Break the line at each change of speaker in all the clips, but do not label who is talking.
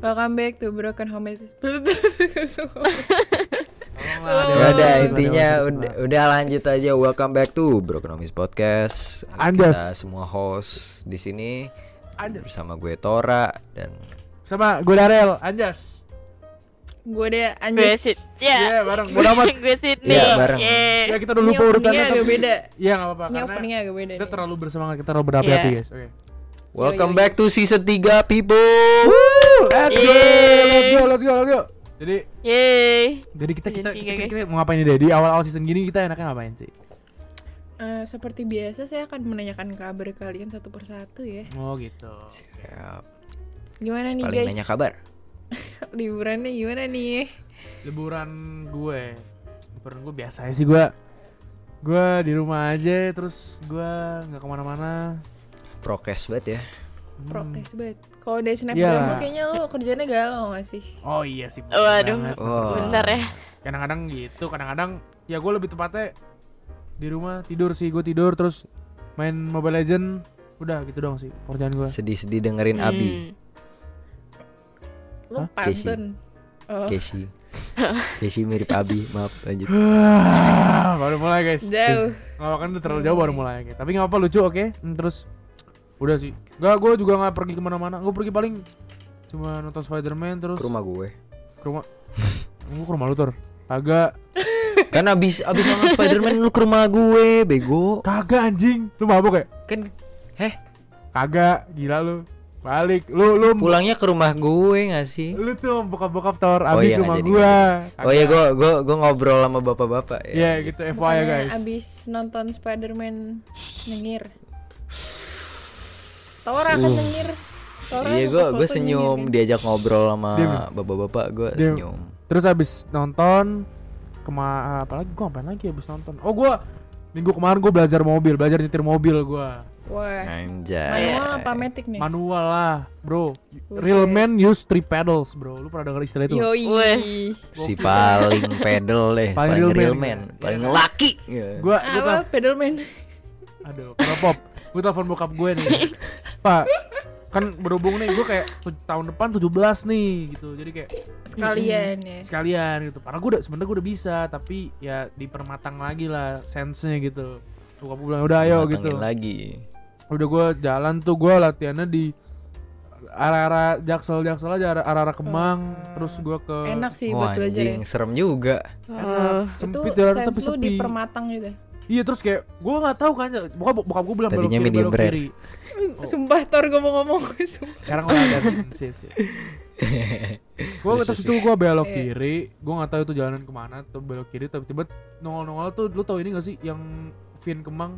Welcome back to Broken Home. is-
Oh, Ada
Ya
masa
udah
depan, ada
intinya
masa
udah,
depan.
udah lanjut aja welcome back to Brokenomics Podcast.
Anjas.
Kita semua host di sini
Anjas.
bersama gue Tora dan
sama gue Darel Anjas
Gue deh
Gue
anjir.
Sid. Ya.
Iya, bareng. Bodo amat.
Gue Sydney.
Iya, bareng.
Yeay.
ya kita udah lupa urutannya
agak
tapi
beda.
ya nggak apa-apa
Ini openingnya
karena
agak beda.
kita
nih.
terlalu bersemangat kita terlalu berapi-api
Iya.
guys oke
welcome
yo, yo.
back to season 3 people.
Woo, let's go
Yeay.
let's go let's go let's go jadi
Yeay.
jadi kita kita,
Season
kita,
tiga,
kita,
guys.
kita mau ngapain nih Deh? di awal-awal season gini kita enaknya ngapain sih
Eh, seperti biasa saya akan menanyakan kabar kalian satu persatu ya.
oh gitu
Siap.
Gimana nih
Ya, Paling
guys?
nanya kabar.
Liburannya gimana nih?
liburan gue liburan gue biasa sih gue gue di rumah aja terus gue nggak kemana-mana
Prokes banget ya.
Hmm.
Prokes banget. Kalau dari snapgram lu
Iyalah.
kayaknya lu kerjanya galau gak sih?
oh iya sih bener
Waduh.
banget.
Oh.
Bener ya.
kadang-kadang gitu kadang-kadang ya gue lebih tepatnya di rumah tidur sih gue tidur terus main Mobile Legend udah gitu dong sih kerjaan gue
Sedih-sedih dengerin Abi,
Hmm.
Lu
Hah?
pantun. Oh.
Casey. Casey mirip Abi, maaf lanjut.
baru mulai guys
Jauh.
nggak kan udah terlalu jauh baru mulai oke. tapi nggak apa lucu oke Hmm, terus udah sih gak gue juga nggak pergi kemana-mana gue pergi paling cuma nonton Spider-Man terus
Ke rumah gue.
ke rumah gue ke rumah lu Tor. agak
Kan abis abis nonton Spiderman lu ke rumah gue, bego.
kagak anjing lu mabok ya
Kan heh,
kagak gila lu balik lu lu
pulangnya ke rumah gue gak sih?
lu tuh bokap-bokap Tor.
Oh
abis
iya,
ke rumah
nggak jadi,
gue
Oh iya, gue gue gue ngobrol sama bapak-bapak ya.
Iya,
Ya gitu FYI ya
Bukannya
guys.
Abis nonton Spider-Man nyengir. Tora kan nyengir. Tora
Iya
pas
gue gue
foto
senyum
nyengir,
diajak ngobrol sama
Diam.
bapak-bapak gue
Diam.
senyum.
Terus abis nonton kema apalagi gua ngapain lagi abis nonton? Oh gua minggu kemarin gua belajar mobil, belajar nyetir mobil gua.
kan? Wah.
Nah, Anjay.
Manual apa metik nih?
Manual lah, bro. Real
Buset.
men use three pedals, bro. Lu pernah dengar istilah itu?
Yoi.
Weh.
Si paling pedel deh, paling,
real
real
man.
man, paling laki. Iya.
Gua gua
Apa
telf-
pedalman?
aduh, para pop. Gua telepon bokap gue nih. Pak, kan berhubung nih gua kayak tu- tahun depan 17 nih gitu. Jadi kayak
Sekalian ya.
sekalian gitu. Padahal gue udah sebenarnya gue udah bisa, tapi ya dipermatang lagi lah sense-nya gitu. Bokap gue bilang udah ayo
Matengin
gitu.
lagi.
udah gue jalan tuh gue latihannya di arah-arah jaksel jaksel aja arah- arah-arah kemang terus gue ke
Oh. Enak sih
Wah
buat belajar ya.
anjing, serem juga.
enak
Oh.
Itu
sempit jalan tapi
sense lu
sepi
di permatang gitu.
iya terus kayak gue nggak tahu kan bokap bokap gue bilang belok
Tadinya
kiri
medium
belok
rare.
kiri Oh.
Sumpah Tor gue mau ngomong. Sumpah.
sekarang gue ada sip sip gue
Terus,
terus
terus,
itu gue belok
Iya.
kiri gue nggak tahu itu jalanan kemana tuh belok kiri tapi tiba nongol nongol tuh lu tau ini gak sih yang Vin kemang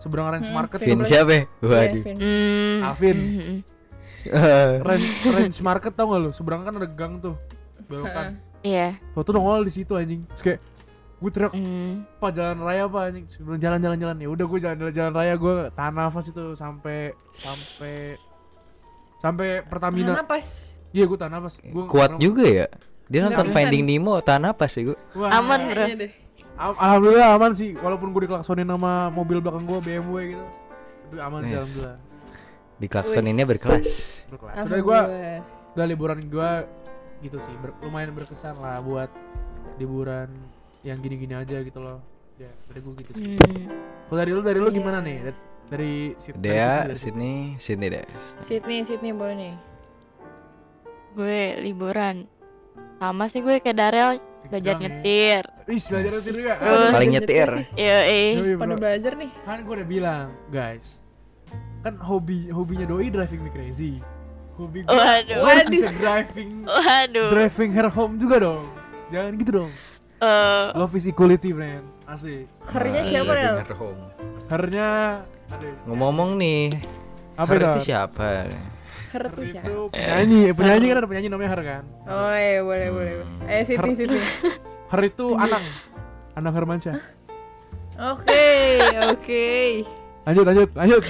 seberang range
Hmm,
market
Vin
Vin
siapa? ya? Waduh.
Kevin.
Hmm.
Alvin
Hmm.
range, range market tau gak lu seberang kan ada gang tuh belokan
Iya.
Tau tuh nongol di situ anjing. Terus kayak gue teriak
Hmm.
apa jalan raya apa anjing. Terus bilang jalan jalan jalan ya udah gue jalan jalan jalan raya gue tahan nafas itu sampai sampai sampai
Tahan
Pertamina.
napas.
Iya gue tahan nafas. Gue
Kuat juga ya.
Nggak
Dia nonton
bisa.
Finding Nemo, tahan ya, apa sih gue?
Wah,
Aman bro.
Kayaknya Iya deh.
al- alhamdulillah aman sih walaupun gue dikelaksonin sama mobil belakang gue BMW gitu. Tapi aman sih
Yes.
alhamdulillah.
Di klakson ini berkelas.
Berkelas. Sudah gue
Alhamdulillah.
udah liburan gue gitu sih ber- lumayan berkesan lah buat liburan yang gini-gini aja gitu loh. Ya, dari gue gitu sih.
Hmm. Iya.
Kalau dari lu dari lu gimana nih? Dat- Dari Sid- dari
Dea,
Sydney, dari Sydney.
Sydney, Sydney deh.
Sydney, Sydney boleh nih.
Gue liburan. Sama sih gue ke Darel belajar
Sedang ya.
nyetir.
Ih, belajar nanti juga.
Terus.
Belajar
Paling nyetir.
sih.
Yoi.
Yoi, bro.
Pada belajar nih.
Kan gue udah bilang, guys. Kan hobi hobinya doi driving me crazy. Hobi gue
Waduh.
harus
Waduh.
bisa driving
Waduh.
driving her home juga dong. Jangan gitu dong.
Eh,
Love is equality, friend. Asik.
Harinya
Nah,
siapa
Loving
Del?
Her Home.
Hernya ada ya?
Ngomong-ngomong nih,
apa
Her
itu?
itu siapa?
Her
Her
tuh siapa?
itu penyanyi, penyanyi kan ada penyanyi namanya Her kan.
Oh iya boleh
Hmm.
boleh. boleh. Eh Sydney
Her-
Sydney.
Her itu Anang. Anang Hermansyah.
Oke oke.
lanjut lanjut lanjut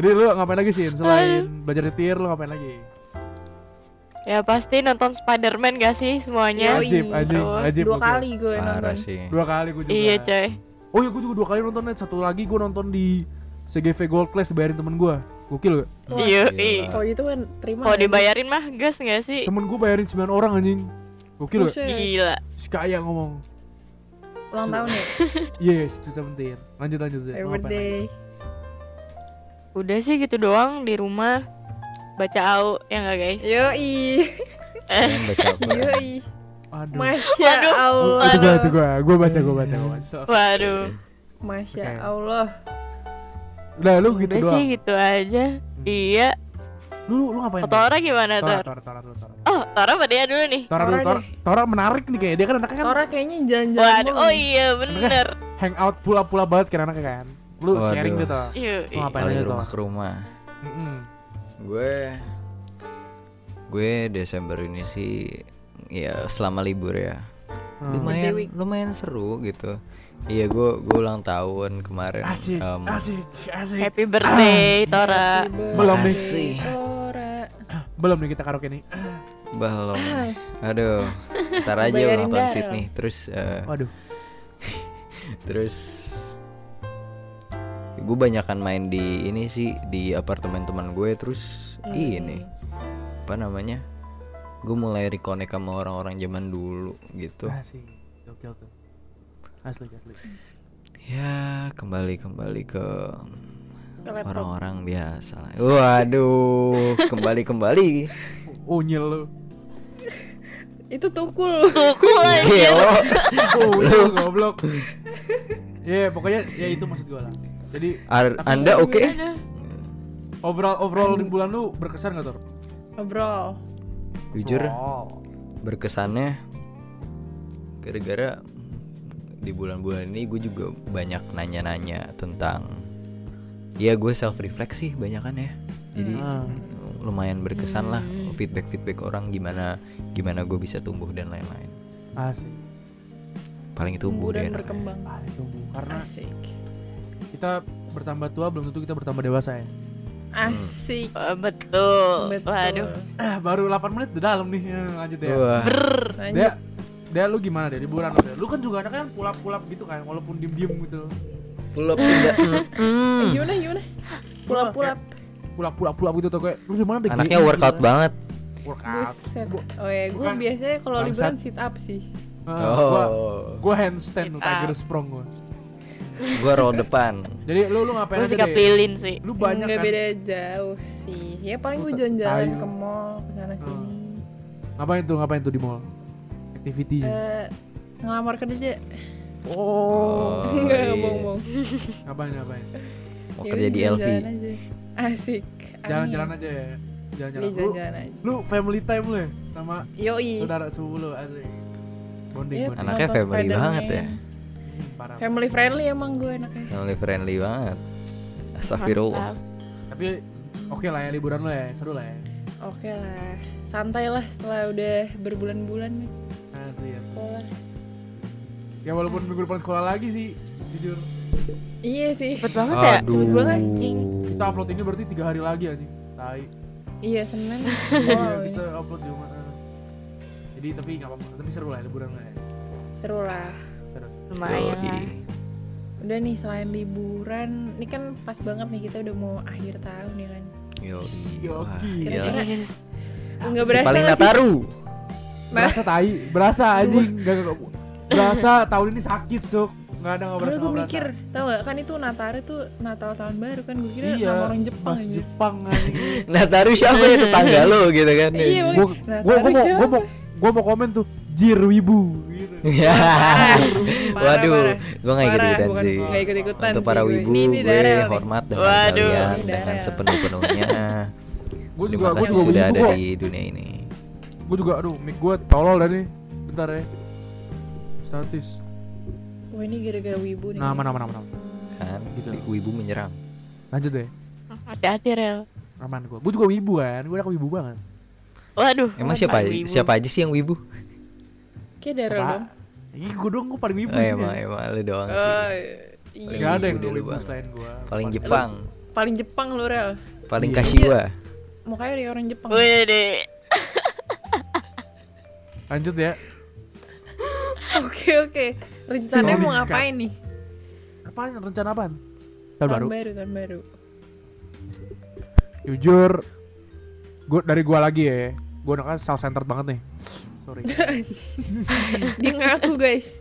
jadi lu ngapain lagi sih selain belajar nyetir lu ngapain lagi
ya pasti nonton Spider-Man gak sih semuanya?
Yoi.
Iya, wajib anjing
Terus
Iya, Dua
wajib gua tuh.
kali gue
Parah
nonton.
sih.
dua kali gue juga
Iya, coy.
oh iya gue juga dua kali nonton net satu lagi gue nonton di CGV Gold Class bayarin temen gue Gokil gak?
Wah,
Iya,
gila.
iya.
Kalau gitu kan terima.
Kalau
nggak sih?
dibayarin mah gas gak sih?
Temen gue bayarin 9 orang anjing Gokil gak?
Buset,
Gila.
Si kaya ngomong Iya.
Ulang tahun ya,
Yes, 2017 Lanjut lanjut Zed.
happy
Mau ngapain
birthday.
lagi?
Udah sih gitu doang di rumah baca au ya nggak guys?
Yoi,
Kalian baca Al-Quran.
yoi.
Aduh
Masya
Waduh.
Oh,
Allah.
Itu gue, itu gue Gue baca, gue baca, gue baca So, so.
Waduh.
gitu
Masya
Oke.
Allah.
Udah lu gitu
Udah sih
doang Hmm.
gitu aja. Iya.
Lu, lu ngapain?
Tora gimana
Tora,
Tor?
Tora, Tora, Tora, Tora.
Oh Tora sama dia dulu nih.
Tora, dulu,
Tora
Tora,
deh.
Tora menarik nih kayaknya Dia kan anaknya kan
Tora kayaknya jalan-jalan
Waduh.
mulu
Oh
nih.
iya bener.
hangout pula-pula banget kan anaknya kan Lu
Waduh.
sharing deh Tora
Yuk.
Lu ngapain
Dari
aja Tora?
rumah ke rumah.
Mm-mm.
Gue gue Desember ini sih ya selama libur ya.
Hmm.
Lumayan
Birthday week.
lumayan seru gitu. Iya gue gue ulang tahun kemarin.
Asik, Ah,
Em,
asik, asik
Happy birthday
Ah.
Tora.
Happy
Belum nih.
birthday, Tora.
Belum nih kita karaoke nih
Belum.
Ah.
Aduh. Ntar aja
Bayarin
ulang tahun
dah.
Sydney. Terus eh,
Waduh
terus gue banyakan main di ini sih di apartemen teman gue terus
Hmm.
ini apa namanya gue mulai reconnect sama orang-orang zaman dulu gitu
Asik Ah, Gokil tuh Asli, asli
ya kembali kembali ke
Ke laptop.
orang-orang biasa lah. waduh kembali kembali
Oh nyil lu
Itu tukul.
Tuku aja.
Gelo.
Oh nyil goblok Ya pokoknya ya itu maksud gue lah Jadi
Ar- anda oke
overall overall di bulan lu berkesan gak Tor?
Ngobrol.
jujur
Wow.
berkesannya gara-gara di bulan-bulan ini gue juga banyak nanya-nanya tentang ya gue self reflect sih banyak kan ya jadi
Ah,
lumayan berkesan lah
Hmm.
feedback feedback orang gimana gimana gue bisa tumbuh dan lain-lain
Asik
paling
Tumbuh
tumbuh
dan
Iya.
deh enak.
berkembang.
Paling tumbuh Karena
Asik.
kita bertambah tua belum tentu kita bertambah dewasa ya
Asik.
Oh,
Hmm.
Betul.
Betul.
Waduh.
Eh, Baru 8 menit udah dalam nih Eh, Lanjut ya
Wah,
Lanjut.
Dia dia lu gimana deh liburan lu? Dea? Lu kan juga anaknya kan pulap-pulap gitu kan walaupun diem-diem gitu.
pull up in the-
Eh, gimana gimana? Pulap-pulap.
Pulap-pulap-pulap gitu tuh kayak lu di mana deh?
anaknya
Gini,
workout
gitu.
banget
Workout.
Buset.
Gua-
Oh ya, gue
Bukan.
biasanya kalau liburan
Bangsat.
sit up sih.
eh, Gua
oh
gua handstand tuh
Sit up.
Tiger Sprong gua.
gue roll depan
Jadi lu lu ngapain
Gue
aja
sikap
deh?
lilin sih.
Lu banyak
Nggak
kan.
beda jauh sih. Ya paling gue
Gua
jalan-jalan
tahu. Hmm.
ke mall ke sana sini.
Ngapain tuh? Ngapain tuh di mall? Activity.
Eh, ngelamar kerja.
oh.
Enggak
iya.
bohong-bohong.
Ngapain ngapain? Oh,
mau
Ya
kerja
udah,
di LV
jalan-jalan aja. Asik. Amin.
Jalan-jalan aja ya. Jalan-jalan.
Iya,
Lu,
jalan-jalan aja.
lu family time lu ya sama
Yoi.
saudara sepupu lu asik. Bonding,
Iya,
bonding.
anaknya
nonton
family banget ya
Spider-Man.
Hmm, Parah.
Family friendly emang gue anaknya.
family friendly banget Astagfirullah
Mantap.
Tapi oke lah ya liburan lo ya, seru lah ya.
Oke lah, santai lah setelah udah berbulan-bulan nih
Asik, asik.
sekolah.
Ya walaupun minggu depan sekolah lagi sih, jujur.
Iya sih,
Cepet banget ya.
Cepet banget.
Kita upload ini berarti tiga hari lagi anjing. Tai.
iya Senin.
Iya,
Wow, ini
kita upload cuma. Jadi tapi nggak apa-apa, tapi seru lah liburan lah ya.
seru lah.
Seru. seru.
Lumayan lah.
Udah nih selain liburan, ini kan pas banget nih kita udah mau akhir tahun ya kan.
Yo,
Ih,
Gila.
Gokil.
Yes.
Enggak berasa
Ah, paling
nggak sih?
Nataru
Nah,
Berasa tai, berasa
Iya.
anjing. Enggak enggak. Berasa tahun ini sakit, Cuk. Enggak ada enggak
padahal gue
berasa enggak berasa.
mikir, tau gak kan itu Nataru tuh Natal tahun baru kan gue kira
Iya,
nama orang Jepang
bahasa
aja.
Jepang anjing.
Nataru siapa ya tetangga lo gitu kan
Iya,
Gua
Nah,
gua gua
tapi
mau
siapa?
gua mau gua mau komen tuh jirwibu gitu.
Ya.
Iya, Parah,
Waduh,
parah.
gue gak
Parah,
ikut-ikutan
bukan
sih.
nggak ikut-ikutan
Untuk
sih
para
gue.
wibu,
Ini- ini
gue
Darel nih.
hormat dengan
Waduh.
kalian
Ini
dengan
Darel.
sepenuh-penuhnya.
Gua
Terima
juga gua
kasih
juga
sudah
wibu
ada
kok.
di dunia ini.
Gue juga aduh mic gue tolol dah nih Bentar ya Statis Nah,
Wah ini gara-gara wibu nih.
Nama nama nama nama
Kan,
Gitu.
wibu menyerang.
Lanjut deh
Hati-hati Rel.
Aman gue Gue juga wibu kan Gue anak wibu banget
Waduh.
Emang siapa ya?
wibu.
siapa aja sih yang wibu?
Kayak Darel
Apa?
dong.
Ih gue dong gue paling wibu
Oh,
sih
emang
dia.
emang lu doang sih.
Eh, iya.
Gak ada yang
Wibu dulu
wibu
banget.
selain gue
Paling Jepang,
Paling Jepang lu Rel.
paling
Iya.
Kashiwa.
Mukanya dari orang Jepang.
Wih deh.
Lanjut ya
Oke oke. Rencananya mau ngapain
kan.
nih?
Apaan rencana apaan? Tahun
Tahun
baru
baru, tahun baru.
jujur gua dari gua lagi ya gua anaknya self centered banget nih sorry
dia ngaku guys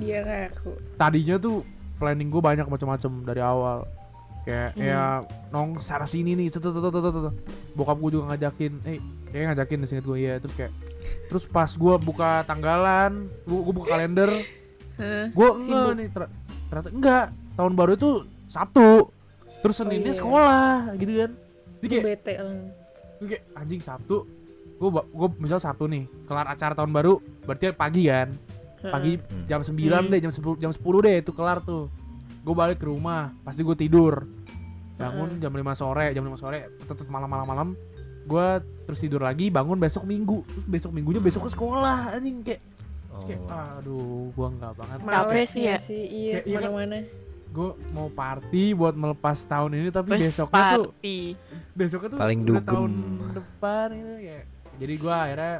dia ngaku
tadinya tuh planning gue banyak macam-macam dari awal kayak ya nong sana sini nih set, set, set, set, set, set. bokap gue juga ngajakin eh kayak ngajakin di gue ya terus kayak terus pas gue buka tanggalan gue buka kalender
Hah?
gue enggak
Sibuk.
nih ter- ternyata enggak tahun baru itu sabtu terus
iya.
seninnya sekolah gitu kan jadi kayak
bete lang.
gue kayak anjing sabtu gue gue misal sabtu nih kelar acara tahun baru berarti pagi kan pagi
Hmm.
jam 9 deh jam 10 jam 10 deh itu kelar tuh gue balik ke rumah pasti gue tidur bangun jam 5 sore jam 5 sore tetep malam malam malam gue terus tidur lagi bangun besok minggu terus besok minggunya besok ke sekolah anjing kayak terus kayak
Oh.
aduh gue nggak banget
Males
sih ya.
sih iya
Kayak- iya kan?
kemana-mana
gue mau party buat melepas tahun ini tapi
Terus
besoknya tuh
party.
besoknya tuh
Paling
udah
dugem.
tahun depan gitu ya jadi gue akhirnya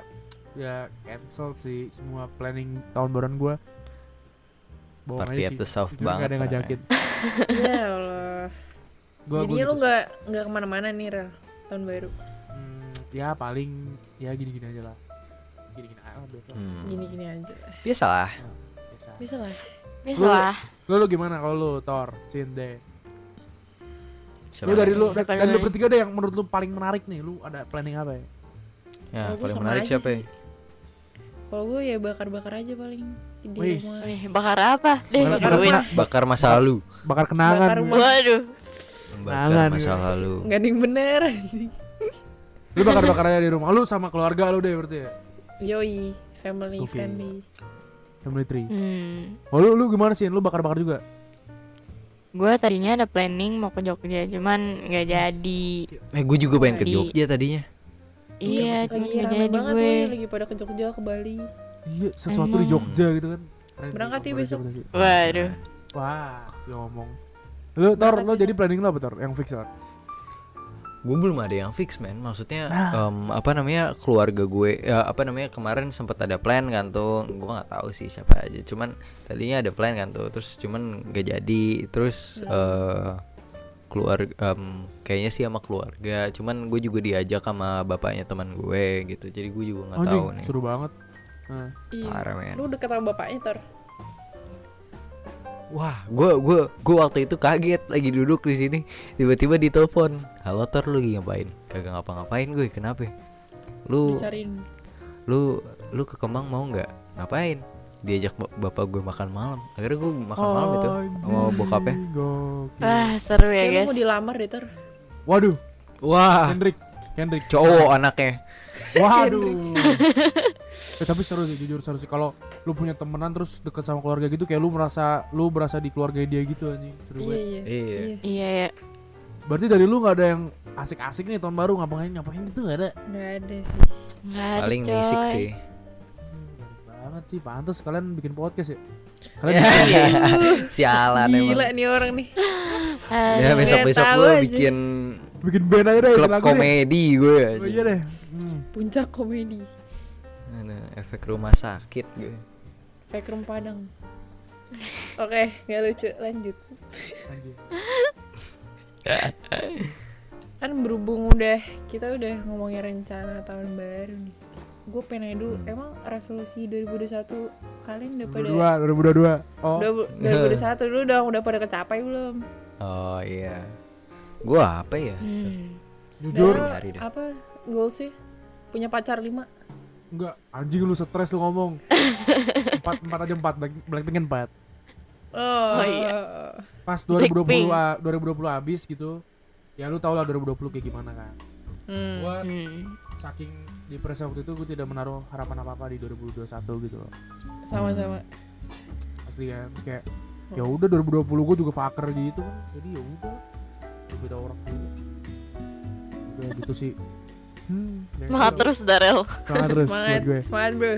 ya cancel sih semua planning tahun baruan gue
Party at the South
Jujur nggak ada
banget.
yang ngajakin
ya Allah
gue
jadinya lu nggak nggak kemana-mana nih Rel tahun baru
Hmm. ya paling ya gini-gini aja lah gini-gini aja lah, biasa
Hmm.
gini-gini aja
Biasa lah.
biasa
bisa lah
Bisa lah.
lu, lu gimana kalau lu Thor Cinde lu
Siapa
dari
yang-
lu dari
Siapa
lu
namanya?
bertiga deh yang menurut lu paling menarik nih lu ada planning apa ya
Eh,
Ya,
Kalau gua
paling
sama
menarik
aja
siapa ya?
sih. kalau gue ya bakar-bakar aja paling di
Wis.
rumah
Nih, bakar apa? Deh,
Bakar-
bakar
bakar
duit.
rumah.
Bakar masa lalu.
bakar kenangan
ya. Bakar
ya.
rumah.
Waduh.
Tangan,
Bakar masa
gitu.
lalu.
nggak ada yang bener anjing
lu bakar bakar aja di rumah lu sama keluarga lu deh berarti ya
yoi family
Oke.
friendly
family tree
Hmm.
oh lu lu gimana sih lu bakar bakar juga
Gue tadinya ada planning mau ke Jogja, cuman nggak jadi.
Eh, gue juga pengen ke
Tadi-
Jogja tadinya.
Iya, cuman
lagi
nggak
rame
jadi
banget
gue.
nih lagi pada ke Jogja ke Bali
iya sesuatu di
Emang.
Jogja gitu kan Keren sih,
Berangkat ya
kalau
besok.
Jogja sih.
Waduh.
wah sih ngomong lu Thor
Berangkat
lu
besok.
jadi planning lu apa Thor yang fix Thor
Gue belum ada yang fix, man. Maksudnya
Nah.
em, apa namanya? Keluarga gue ya, apa namanya? Kemarin sempat ada plan kan tuh. Gue nggak tahu sih siapa aja. Cuman tadinya ada plan kan tuh. Terus cuman gak jadi. Terus eh keluarga em, kayaknya sih sama keluarga. Cuman gue juga diajak sama bapaknya teman gue gitu. Jadi gue juga nggak tahu
anjing
nih.
Oh, seru banget Nah.
iya
Parah, man.
lu deket sama bapaknya Tor
Wah, gua gua gua waktu itu kaget lagi duduk di sini, tiba-tiba ditelepon. Halo Tor, lu lagi ngapain? Kagak ngapa-ngapain gue, kenapa? Lu
dicariin
lu lu ke Kemang mau nggak? Ngapain? Diajak bap- bapak gue makan malam. Akhirnya gue makan malam itu sama
Anjing,
bokapnya.
gokil.
Ah.
Wah, seru ya,
kayak lu
guys.
mau dilamar deh Tor
Waduh,
Wah,
Kendrick, Kendrick.
Ah. cowok anaknya.
Waduh. Eh, tapi seru sih, jujur seru sih. Kalau lu punya temenan terus deket sama keluarga gitu, kayak lu merasa lu berasa di keluarga dia gitu anjing. Seru
iya
banget.
iya
Iya.
iya sih
Iya, ya.
Berarti dari lu nggak ada yang asik-asik nih tahun baru ngapain ngapain gitu nggak ada.
nggak ada sih
Nggak ada,
Paling nisik
coy.
sih.
Hmm, menarik banget sih, pantas kalian bikin podcast ya. Kalian
Ya,
bikin podcast
Sialan
gila
emang.
nih orang nih
Aduh.
Ya besok-besok
Nggak tahu
gue
aja.
bikin
ya. bikin band aja deh.
klub
lagu deh.
komedi gue.
Oh, iya deh. Hmm.
puncak komedi
Ada efek rumah sakit gue.
Fakrum Padang oke nggak lucu lanjut
Anjing.
kan berhubung udah kita udah ngomongin rencana tahun baru nih gue pengen nanya dulu
Hmm.
emang resolusi 2021 kalian udah pada
2022, 2022. Oh.
Dua- 2021 dulu dong udah pada kecapai belum
Oh iya. Gua apa ya?
Hmm.
Jujur,
Daryl,
Hari deh.
apa goal sih punya pacar lima
enggak anjing lu stres lu ngomong. Empat empat aja empat, Black- Blackpink kan empat.
oh,
iya.
pas
Blackpink.
2020 a- 2020 habis gitu ya lu tau lah 2020 kayak gimana kan
Hmm.
gua
Hmm.
saking di press waktu itu gue tidak menaruh harapan apa apa di 2021 gitu loh
sama-sama
pasti kan terus kayak ya udah 2020 gue juga faker gitu kan jadi ya udah beda orang juga udah gitu sih hmm, ya
Semangat
gitu.
terus Darel.
semangat terus
semangat
buat gue
semangat bro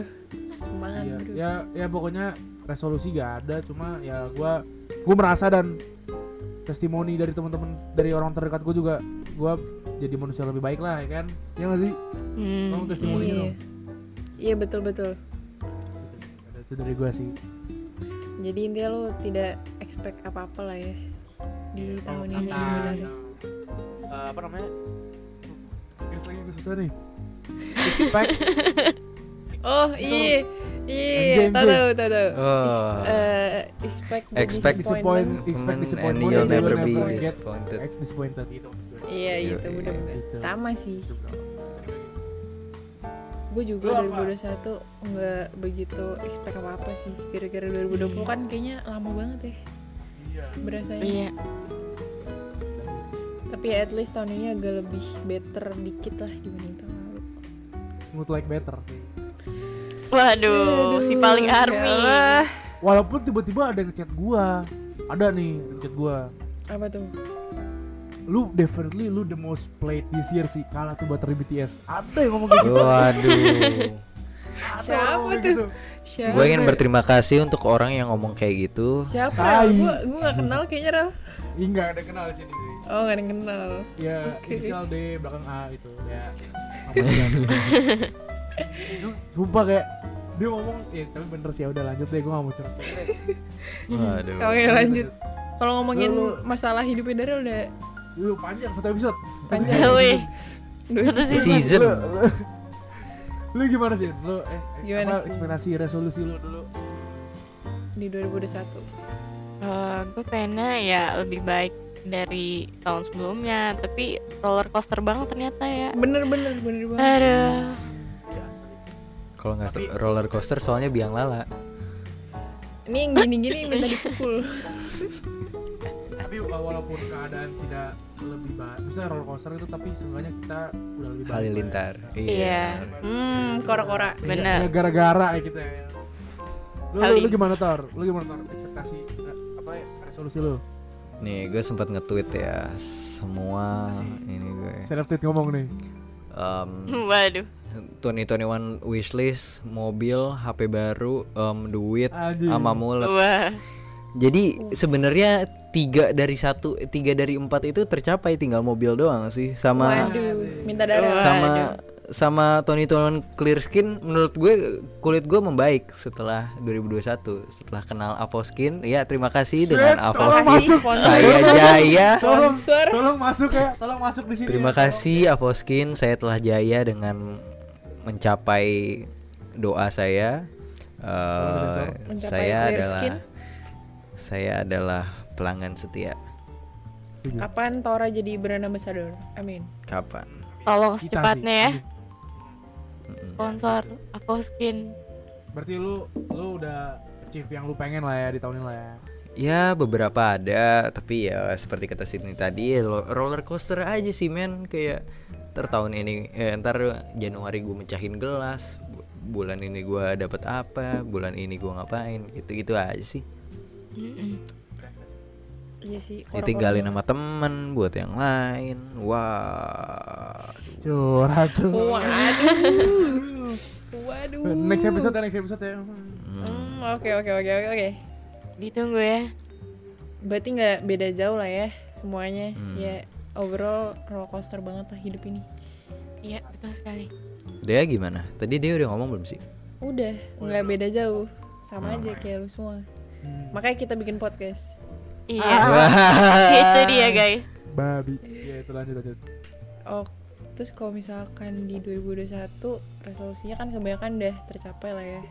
semangat
Iya,
bro
ya ya pokoknya resolusi gak ada cuma ya gua gua merasa dan testimoni dari teman-teman dari orang terdekat gua juga gua jadi manusia lebih baik lah ya kan ya gak sih
Hmm.
Tolong testimoni
Iya.
dong
iya betul betul
Gitu. itu dari gua sih
jadi intinya lu tidak expect
Iya,
apa apa lah ya di tahun ini
kata,
sebenarnya
eh, apa namanya Garis lagi gue susah nih. Expect
Oh
Situ.
iya iya
Anjing,
tahu
anjing.
tahu tahu tahu.
Oh.
Is- eh, expect the
Expect
disappoint,
disappointment.
expect
Woman and
disappointment,
you'll
and you
never
will
be
never get
disappointed.
ex disappointed itu. maksud
Iya
Iya,
gitu
iya,
bener-bener
gitu.
sama sih.
gue. Itu bro.
Gue
Lu
juga
apa?
2021 nggak begitu expect apa apa sih. Gara-gara 2020 kan kayaknya lama banget ya
Iya.
berasanya.
Iya.
Tapi ya at least tahun ini agak lebih better dikit lah dibanding tahun lalu.
Smooth like better sih.
Waduh, Oh, si paling
Aduh,
army.
ya Allah.
Walaupun tiba-tiba ada yang ngechat gua. Ada nih yang ngechat gua.
Apa tuh?
Lu definitely lu the most played this year sih. Kalah tuh baterai BTS. Ada yang ngomong kayak gitu.
Waduh.
Ada yang
Siapa
ngomong kayak
tuh?
gitu.
Siapa?
Gue ingin berterima kasih untuk orang yang ngomong kayak gitu.
Siapa?
Tai.
Gue gue gak kenal kayaknya Ral.
Ih, nggak ada yang kenal di sini sih.
Oh gak ada yang kenal.
Ya,
Oke.
inisial D belakang A itu. Ya. Apa yang- Itu Sumpah kayak dia ngomong, ya tapi bener sih ya udah lanjut deh gue gak mau curhat.
Hmm.
Waduh.
Oke lanjut. Kalau ngomongin
Lu-
masalah hidupnya Daryl udah
Yuk panjang satu episode.
Panjang.
Wih.
dua
Season.
Lu, lu- lu gimana sih? Lu eh, eh,
Gimana
apa
sih?
ekspektasi resolusi lu dulu?
di 2021.
Eh, gue pengennya ya lebih baik dari tahun sebelumnya, tapi roller coaster banget ternyata ya.
Bener-bener bener banget.
Aduh.
Ya, sorry.
Kalau nggak
Tapi-
roller coaster soalnya biang lala.
Ini yang gini-gini minta dipukul.
Tapi wa- walaupun keadaan tidak lebih baik, bisa roller coaster itu tapi seenggaknya kita udah lebih baik.
Halilintar.
Ya.
Iya.
Hmm, kora-kora.
Iya,
Bener.
iya, Gara-gara ya kita. ya. Lu, lu, lu
Hali-
gimana tor? Lu gimana tor? Ekspektasi eh, apa ya, resolusi lu?
Nih gue sempat nge-tweet ya semua
Masih.
ini ya. gue.
Seleb tweet ngomong nih.
Em,
Waduh.
2021 wishlist, mobil, HP baru, em, duit,
Anjing.
sama mulut.
Wah.
Jadi
Oh.
sebenarnya tiga dari satu, tiga dari empat itu tercapai tinggal mobil doang sih sama
Waduh,
sih.
minta Daryl.
Wah.
sama sama Tony Tonon Clear Skin menurut gue kulit gue membaik setelah 2021 setelah kenal Avoskin ya terima kasih
Shit,
dengan
tolong
Avoskin
masuk.
Sponsor.
saya jaya
Tolong,
Sponsor.
tolong masuk ya, tolong masuk di sini.
terima
ya.
kasih Avoskin saya telah jaya dengan mencapai doa saya Eh,
disensor.
Mencapai
saya
clear
adalah
skin.
saya adalah pelanggan setia
Setuju.
Kapan Tora jadi brand ambassador? Amin.
kapan
Kita sih,
Tolong
Iya.
secepatnya ya,
ini.
sponsor aku skin.
Berarti lu lu udah achieve yang lu pengen lah ya di tahun ini lah ya.
Ya beberapa ada tapi ya seperti kata Sydney tadi ya, lo- roller coaster aja sih men kayak ntar tahun ini eh, ntar Januari gue mecahin gelas bu- bulan ini gua dapat apa bulan ini gua ngapain gitu gitu aja sih
Mm-mm.
Iya sih. kora-kora
ditinggalin
banget.
sama temen buat yang lain wah
Curhat tuh.
Waduh. Waduh.
Next episode ya, next episode ya.
Hmm, Oke oke oke oke oke.
Ditunggu ya.
Berarti nggak beda jauh lah ya semuanya.
Hmm.
Ya overall roller coaster banget lah hidup ini.
Iya, betul sekali.
dia gimana tadi dia udah ngomong belum sih
Udah nggak beda jauh. Sama aja kayak lu semua. Makanya kita bikin podcast.
Iya,
Ah.
itu dia guys.
Babi. Ya itu lanjut lanjut.
Oh, terus kalau misalkan di 2021 resolusinya kan kebanyakan udah tercapai lah ya.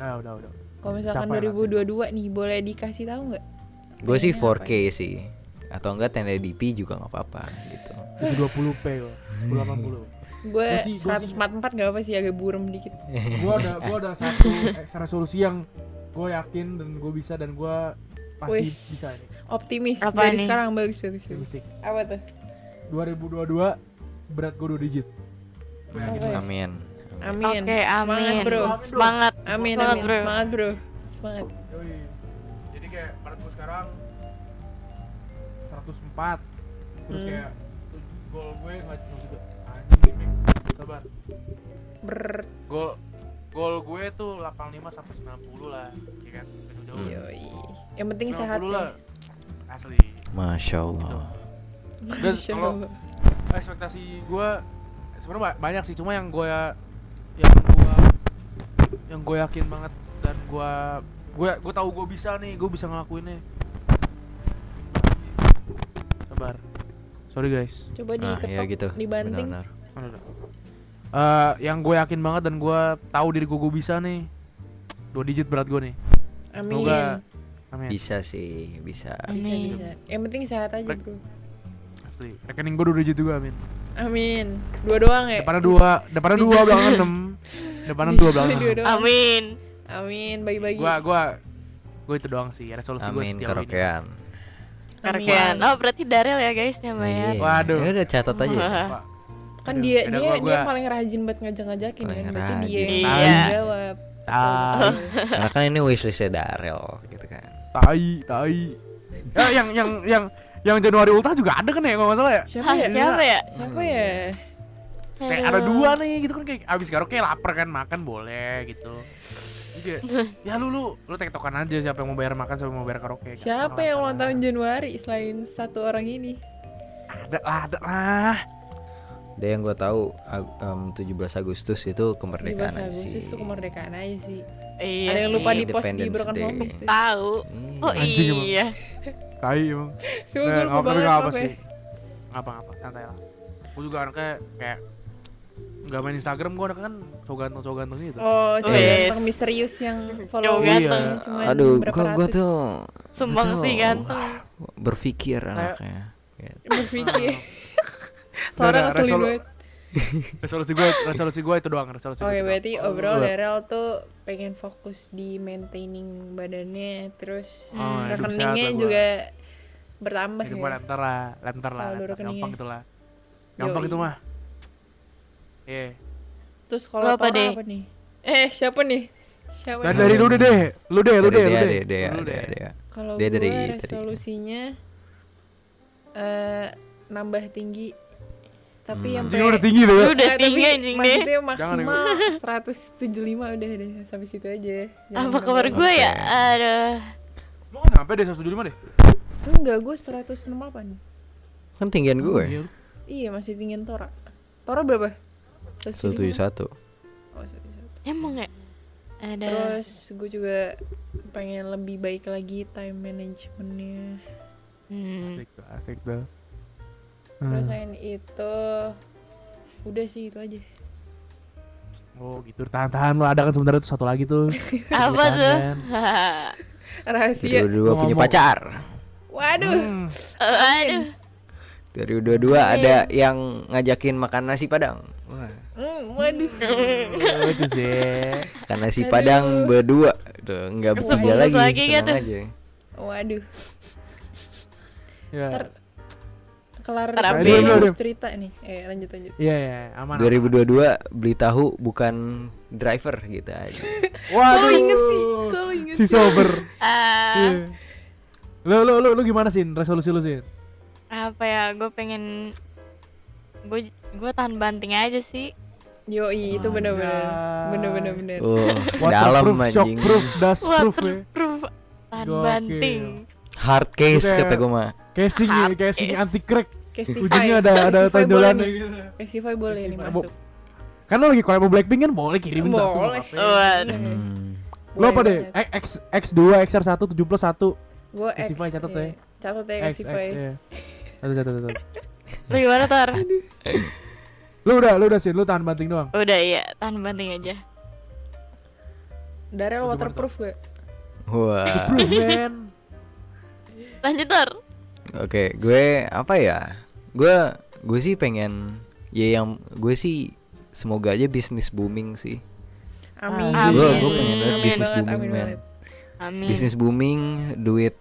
Nah, udah udah.
Kalau misalkan
Tercapai
2022 nih boleh dikasih tahu nggak?
gue sih
Pengennya
4K sih atau enggak 1080p juga nggak apa-apa gitu
720p kok. 1080.
Gue
Gua sih- gua sih- Iya.
144 nggak apa sih agak burem dikit.
gua ada gua ada satu eh, resolusi yang gue yakin dan gue bisa dan gue pasti
Wis.
bisa ini.
Optimis
Apa
dari
nih?
sekarang bagus bagus. bagus.
Mistik.
Apa tuh?
2022 berat gue 2 digit. Gua yakin
ya?
Oke.
banget.
amin
Amin.
Oke,
Semangat
amin.
bro.
Amin dong.
Semangat.
Amin
Semangat,
amin.
bro.
Semangat bro. Semangat.
Yoi. Jadi kayak berat gue sekarang 104 terus
Hmm.
kayak tu- gol gue nggak maksudnya anjing Mik. sabar
Ber.
gol gol gue tuh 85 sampai 90 lah ya kan itu jauh
Iya.
Yoi. Yang penting sehat.
90 lah
ya.
asli
masya
gitu
allah
Guys,
Masya
kalau-
Allah.
ekspektasi gue sebenarnya ba- banyak sih cuma yang gue yang gue yang gue yakin banget dan gue gue gue tahu gue bisa nih gue bisa ngelakuinnya sabar sorry guys Oh,
Coba
Nah,
diketok,
iya
ya gitu.
dibanting.
Benar-benar.
Eh, yang gue yakin banget dan gue tahu diri gue bisa nih dua digit berat gue nih
Amin.
semoga amin
Bisa sih, bisa.
Bisa
Amin.
bisa. Yang penting sehat aja,
Rek-
Bro.
Asli. rekening gue dua digit juga amin
Amin. Dua doang ya.
depannya dua depannya dua belakangnya enam depannya dua belakangnya
Dua
enam
doang.
Amin.
Amin, bagi-bagi.
gue gue gue itu doang sih resolusi gue
Amin
sejauh ini
kerokean.
Karena Oh berarti Daryl ya guys namanya.
Iya.
Waduh.
Ya udah catat aja.
Wah,
Kan
aduh,
dia
beda
dia
gua,
dia
gua.
yang paling rajin buat ngajak-ngajakin kan.
Paling
Berarti dia yang
rajin.
paling
Iya.
jawab.
tai
Karena kan ini wishlistnya Darel gitu kan.
tai tai ya, yang yang yang yang Januari Ultah juga ada kan ya kalau nggak salah ya
Siapa
Hah,
ya?
siapa ya?
Siapa ya?
kayak ada dua
Iya.
nih gitu kan kayak abis karaoke lapar kan makan boleh gitu Jadi kayak, ya lu lu lu tektokan aja siapa yang mau bayar makan siapa yang mau bayar karaoke
Siapa yang ulang tahun Januari selain satu orang ini?
ada lah ada lah
Dia yang gue tahu ag- em, 17 Agustus itu kemerdekaan
17
aja sih.
Agustus tuh kemerdekaan aja sih.
Iya.
Ada yang lupa
sih.
di post di
Independence
Broken
Day.
Homies
Eh,
tuh.
tahu.
Hmm.
Oh
Anjing emang.
iya.
tai emang Nah,
Semua gue lupa
nggak- tapi
banget
nggak apa
apa ya.
sih apa apa santai lah gue juga anaknya kayak nggak main Instagram gue anaknya kan cowok ganteng cowok ganteng gitu
Oh, cowok
Yes.
ganteng misterius yang follow
Cowok
ganteng
ganteng.
cuman
Iya. Aduh,
berapa
gua, gua
ratus. kan?
tuh
Sumbang
Betul.
sih ganteng.
berpikir anaknya. Gitu.
berpikir.
Nggak ada,
Orang ngeselin
resolu-
banget.
resolusi gue resolusi gue itu doang Iya. resolusi
Oke, Oh, iya,
gue itu
berarti
doang.
overall ya,
Gua-
Daryl tuh pengen fokus di maintaining badannya, terus
Oh, hidup sehat lah
rekeningnya
gua.
juga bertambah
Itu mah
ya.
lantar lah, lantar lah,
Saldo
lantar.
rekeningnya.
gampang itu lah. Gampang
Yoi.
itu mah. Iya.
Terus
Lu
kalau
apa,
apa,
Deh?
apa nih? Eh, siapa nih? Siapa
Dan
nih?
dari lu deh deh, lu deh, lu
Dari
deh, lu
dia,
deh.
dia, dia,
Lu
dia,
deh.
dia.
Kalau
Dia
gue
dari- dari-
resolusinya eh nambah tinggi tapi yang
Anjing lu udah tinggi deh. ya.
Lu udah tinggi anjing deh.
Maksudnya
Jangan,
maksimal 175 udah deh sampai situ aja. Jangan
Apa kabar
nambah.
gue ya?
Oke.
Ada.
Lu kan nyampe deh 175 deh.
Enggak, gue 168.
Kan tinggian gue.
Iya, lu.
Iya, masih tinggiin Tora. Tora berapa? 175.
171.
Oh, 171.
Emang ya? Ada.
Terus gue juga pengen lebih baik lagi time managementnya.
Hmm.
Asik tuh, asik tuh. Hmm.
Terus selain itu udah sih itu aja.
Oh gitu, tahan-tahan lu ada kan sebenarnya tuh satu lagi tuh
Apa tuh?
Tahan.
Rahasia. Iya.
Dari dua
Gua
punya
ngomong.
pacar.
Waduh.
Hmm.
Aduh.
Dari dua-dua
Iya.
ada yang ngajakin makan nasi padang. Wah,
Hmm, waduh.
Lucu sih
makan nasi
Aduh.
padang berdua. Tuh, enggak bertiga
Sebungkus
lagi.
lagi
tenang
gitu.
aja.
Waduh.
Ya,
Kelar
Terapi.
dari
Aduh, aduh.
cerita nih. Eh, lanjut lanjut.
iya ya, aman
2022 beli tahu bukan driver gitu aja.
Waduh
Kalau inget sih,
Oh.
kalau inget.
Si sober
Ah,
Iya. Lu, lu, lu, lu gimana sih resolusi lu sih?
apa ya? Gue pengen gue gue tahan banting aja sih.
Yoi, itu bener-bener,
Anjay.
bener-bener bener.
Oh,
Waterproof,
dalam anjing.
shockproof, dustproof ya.
Waterproof. Tahan
Gokil.
banting.
Hard case
Udah.
kata gue mah.
Casing ya, casing anti crack.
Castify.
Ujungnya ada ada
Castify ya. boleh
tonjolannya
nih.
gitu.
Castify boleh nih
Castify.
masuk.
Kan lo lagi collab sama Blackpink kan boleh kirimin satu.
Boleh.
nggak apa-apa.
Waduh.
Hmm.
Lo apa deh? X X2, XR1, 71.
Gue X.
Castify catat
iya.
ya.
Catat ya
X X
Castify.
ya. Satu satu satu.
Lu gimana Tor?
Lu udah lu udah sih, lu tahan banting doang.
Udah ya, tahan banting aja.
Daryl
Itu
waterproof gue.
Wah.
Proof man.
Lanjut Tor.
Oke, gue apa ya? Gue gue sih pengen ya yang gue sih semoga aja bisnis booming sih.
Amin.
Amin.
Gue gue pengen banget
Amin
bisnis
banget,
booming
amin
man.
banget.
Amin.
Bisnis booming, duit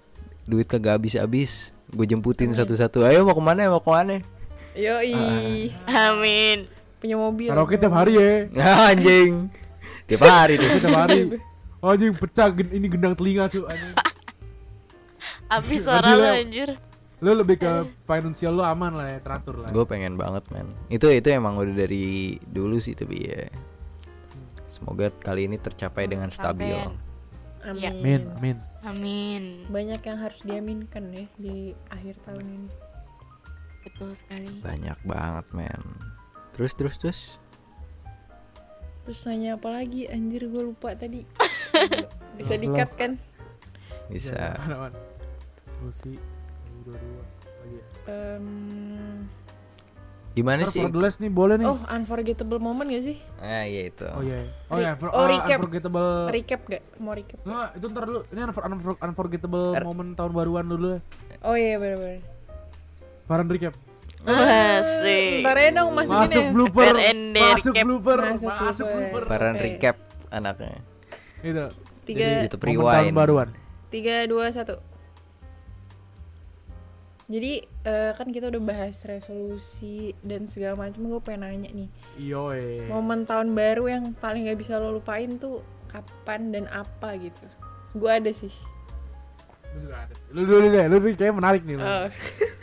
duit kagak habis habis. Gue jemputin
Amin.
satu-satu. Ayo mau kemana? Mau kemana?
Yoi.
Amin.
Punya mobil.
Ah, Karaoke tiap hari ya.
Anjing. Tiap hari deh.
Tiap hari. Anjing pecah gen- ini gendang telinga cuy anjing. Lanjut,
Abis suara lu
Leo.
anjir.
Lu lebih
Iya.
ke financial lu aman lah ya, teratur lah.
Gue pengen banget man Itu itu emang udah dari dulu sih tapi ya Semoga kali ini tercapai dengan stabil
Sampean.
Amin.
Iya.
Amin, amin.
Amin.
Banyak yang harus diaminkan ya di akhir tahun ini.
Betul sekali.
Banyak banget man Terus terus terus
Terus nanya apa lagi? Anjir gue lupa tadi. Bisa di-cut kan?
Bisa
Iya. Oh, Aman, aman. Solusi dua dua lagi. ya.
Em,
Gimana
Ntar
sih?
for the last nih boleh nih.
Oh, unforgettable moment gak sih?
Ah, ya itu.
Oh iya. Oh iya, unfor-
Oh,
ah,
recap.
unforgettable.
Recap gak? Mau recap?
Nggak, itu ntar dulu. Ini unfor- unfor- unforgettable
Er-
momen tahun baruan dulu. ya.
Oh iya bener-bener
Farhan recap.
Asik.
Ntar aja dong masukin
Masuk
ya.
blooper.
FND
Masuk
recap.
blooper.
Masuk
Masuk
blooper.
blooper.
Paran
Oke.
recap anaknya.
Itu.
Tiga,
Eh,
Jadi YouTube
Momen tahun
rewind.
baruan.
tiga, dua, satu Jadi eh, kan kita udah bahas resolusi dan segala macam Gue pengen nanya nih
Yoi.
Momen tahun baru yang paling gak bisa lo lupain tuh Kapan dan apa gitu Gue ada sih
Lu juga ada. Lu dulu deh, lu dulu kayaknya menarik nih. lu.
Oh.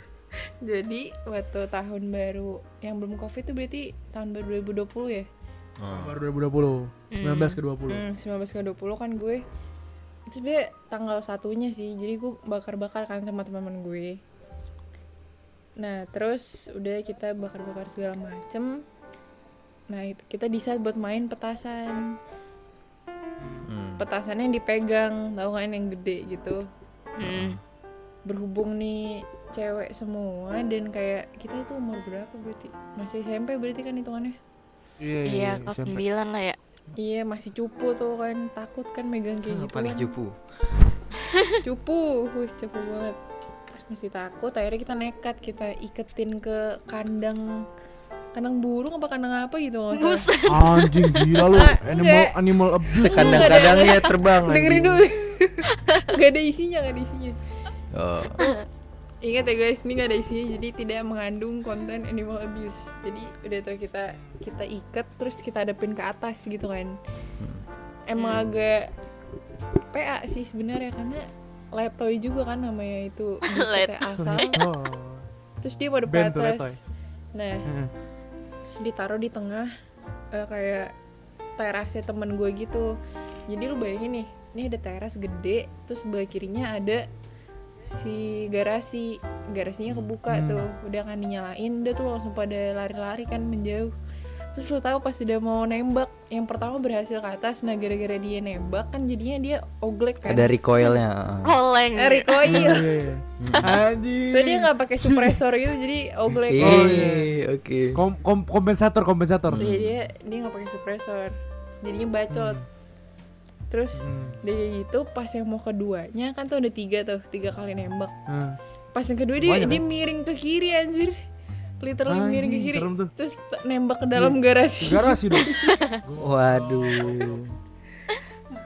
Jadi waktu tahun baru yang belum covid tuh berarti tahun baru 2020 ya?
Hmm.
Baru 2020, 19 ke 20.
Hmm, 19 ke 20 kan gue Itu sebenernya tanggal satunya sih Jadi gue bakar-bakar kan sama teman-teman gue Nah terus udah kita bakar-bakar segala macem Nah itu kita decide buat main petasan
Hmm.
Petasannya yang dipegang tau kan yang gede gitu
Hmm.
Berhubung nih cewek semua Dan kayak kita itu umur berapa berarti Masih SMP berarti kan hitungannya
Iya, kelas
SMP.
9 lah ya.
Iya masih cupu tuh kan Takut kan megang kayak
Ah,
gitu
paling
kan.
cupu.
cupu wis cupu banget terus masih takut akhirnya kita nekat kita iketin ke kandang kandang burung apa kandang apa gitu nggak salah.
Buset.
Anjing gila lu,
Enggak,
animal
enggak.
animal abuse.
Sekadang-kadangnya terbang.
dengerin
anjing.
dulu nggak ada isinya nggak ada isinya
Oh.
Ingat ya guys, ini gak ada isinya jadi tidak mengandung konten animal abuse. Jadi udah tuh kita kita ikat terus kita adepin ke atas gitu kan. Emang agak PA sih sebenarnya karena laptoy juga kan namanya itu bukannya asal.
Oh.
Terus dia pada
Band tuh, laptoy.
atas. Nah,
Heeh.
terus ditaruh di tengah eh, kayak terasnya temen gue gitu jadi lu bayangin nih ini ada teras gede terus sebelah kirinya ada si garasi garasinya kebuka
Hmm.
tuh udah kan dinyalain udah tuh langsung pada lari-lari kan menjauh terus lu tahu pas udah mau nembak yang pertama berhasil ke atas nah gara-gara dia nembak kan jadinya dia oglek kan
Ada recoilnya. ah.
Oleng.
Eh, recoil
Iya, iya, iya.
Hmm.
Anjing.
jadi dia nggak pakai suppressor gitu jadi oglek
Iya,
Oh,
oke.
Kom- kom- kompensator kompensator.
Iya dia dia nggak pakai suppressor, jadinya bacot. Terus
Hmm.
dia itu pas yang mau keduanya kan tuh ada tiga tuh tiga kali nembak.
Heeh.
Pas yang kedua dia,
Banyak, kan?
dia miring ke kiri anjir, literally
Anjing,
miring ke kiri.
serem tuh. Iya.
Terus t- nembak ke dalam garasi,
Garasi dong.
Waduh.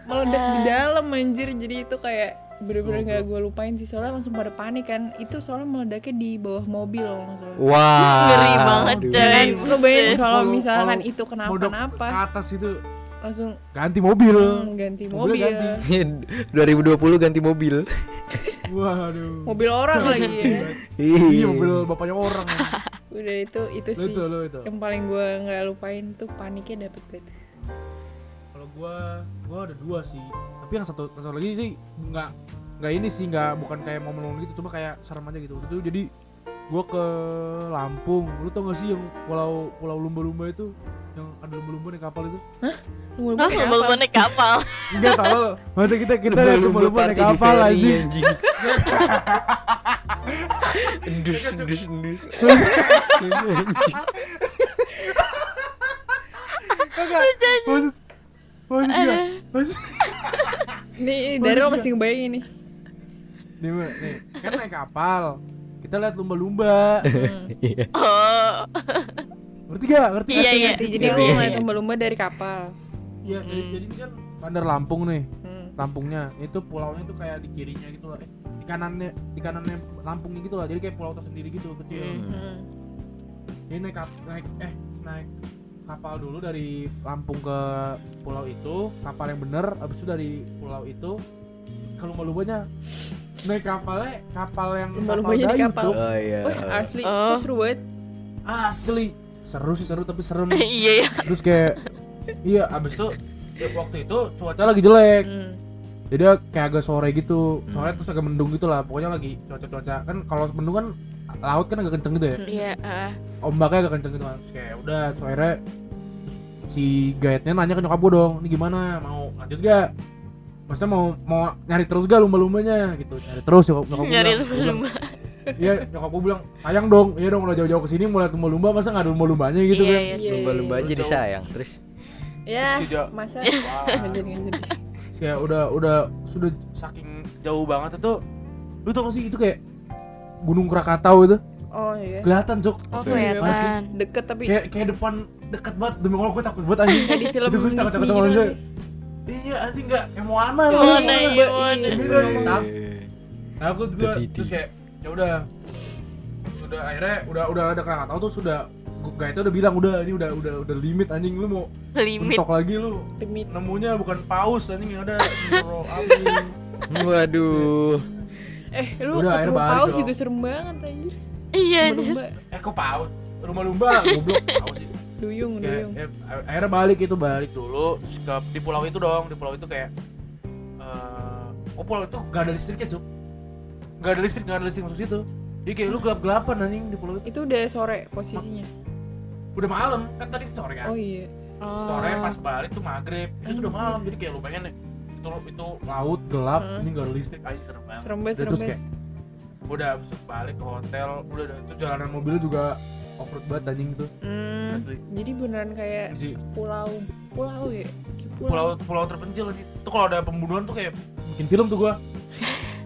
meledak di dalam anjir. Jadi itu kayak bener-bener nggak gue lupain sih soalnya langsung pada panik kan. Itu soalnya meledaknya di bawah mobil loh masalah.
Wah.
Ngeri banget,
Dan
coy.
lo Kan, bayangin Iya, kalau
Oh. Iya, Kalau-
misalkan
kalau
itu
Modok
kenapa-napa
ke atas itu
langsung
ganti mobil.
hmm, ganti mobil.
Mobilnya ganti.
2020 ganti mobil.
Waduh.
Mobil orang lagi ya.
Iya mobil bapaknya orang.
Udah itu itu
Lu
sih.
itu, lu itu.
yang paling gue nggak lupain tuh paniknya dapet banget
Kalau gua gua ada dua sih. Tapi yang satu satu lagi sih nggak nggak ini sih nggak bukan kayak momen-momen gitu cuma kayak serem aja gitu. Waktu Itu jadi gua ke Lampung. Lu tau gak sih yang pulau pulau lumba-lumba itu yang ada lumba-lumba di kapal itu?
Ah,
Terus mau naik kapal.
Enggak tahu. Masa kita kita lihat lumba-lumba di
party di
kapal
ferry,
anjing.
Iya, anjing. Endus, endus, endus.
Kagak. Maksud maksud gua. Maksud
nih dari lo masih ngebayangin nih
nih, Mbak, nih, kan naik kapal. Kita lihat lumba-lumba.
Iya.
Oh.
Ngerti gak? Ngerti gak
Iya,
sih?
iya.
Ngerti?
jadi
Iya,
lo
iya,
ngeliat
iya.
lumba-lumba dari kapal
Iya, jadi, jadi ini kan Bandar Lampung nih.
hmm.
Lampungnya itu pulaunya tuh kayak di kirinya gitu loh eh, di kanannya di kanannya Lampungnya gitu loh jadi kayak pulau tersendiri gitu kecil
Hmm.
Hmm.
jadi naik kap- naik eh naik kapal dulu dari Lampung ke pulau itu kapal yang bener abis itu dari pulau itu kalau mau lubangnya naik kapalnya kapal yang kapal
Lumba-lumbanya di
dayu
kapal.
Cuk.
Oh iya.
Wah, asli
Oh.
Terus seru banget
asli seru sih seru tapi serem
Iya ya.
terus kayak iya abis itu ya, waktu itu cuaca lagi jelek
Hmm.
jadi kayak agak sore
Hmm.
gitu sore terus agak mendung gitu lah pokoknya lagi cuaca-cuaca kan kalau mendung kan laut kan agak kenceng gitu ya
Iya, ah.
ombaknya agak kenceng gitu kan terus kayak udah sore terus si guide-nya nanya ke nyokap gue dong ini gimana mau lanjut gak maksudnya mau mau nyari terus gak lumba-lumbanya gitu nyari terus nyokap nyokap gua
Nyari
bilang. Gua bilang,
lumba-lumba.
Iya, nyokap gue bilang, sayang dong, iya dong udah jauh-jauh kesini mulai lumba-lumba, masa nggak ada lumba-lumbanya gitu
Iya,
kan?
iya.
Iya,
Lumba-lumba
iya.
aja disayang terus.
Ya,
Terus dia-
masa
Wah.
nggak jadi nggak jadi.
Saya udah udah sudah saking jauh banget itu, lu tau gak sih itu kayak Gunung Krakatau itu
Oh iya.
kelihatan cok
Oh
Oke.
Masih.
kelihatan.
Deket tapi
kayak kayak depan dekat banget demi Allah gue takut banget anjing
kayak di film
itu gue takut
Disney
sama
gitu
manusia
kan.
iya anjing nggak kayak Moana
Iya,
loh
Moana,
Moana.
iya,
iya,
iya.
Gitu
Iya.
aja, takut. takut gue
Tepiti.
terus kayak ya udah sudah akhirnya udah udah ada kerangka tahu tuh sudah gue itu udah bilang udah ini udah udah udah limit anjing lu mau
Limit.
mentok lagi lu
Demi
nemunya bukan paus anjing yang ada Nero Agung.
Waduh.
eh lu
Udah, akhirnya
ketemu
balik
paus
dong.
juga serem banget anjir.
Iya anjir.
Lumba,
eh kok paus rumah lumba goblok paus sih
duyung,
Terus kayak,
duyung.
ya, akhirnya balik itu balik dulu terus ke di pulau itu dong di pulau itu kayak eh oh, pulau itu gak ada listriknya cuk gak ada listrik gak ada listrik khusus itu jadi kayak lu gelap gelapan anjing di pulau itu
Itu udah sore posisinya.
udah malam kan tadi sore kan
Oh iya.
Terus sore pas balik tuh maghrib itu tuh udah malam jadi kayak lu pengen itu itu laut gelap
Hmm.
ini gak ada listrik aja serem banget
Serem banget,
Dan
serem
terus
banget.
kayak udah abis itu balik ke hotel udah udah. itu jalanan mobilnya juga off road banget anjing itu
Hmm,
Asli.
jadi beneran kayak
jadi
pulau pulau ya. Kayak
pulau pulau terpencil lagi tuh kalau ada pembunuhan tuh kayak bikin film tuh gua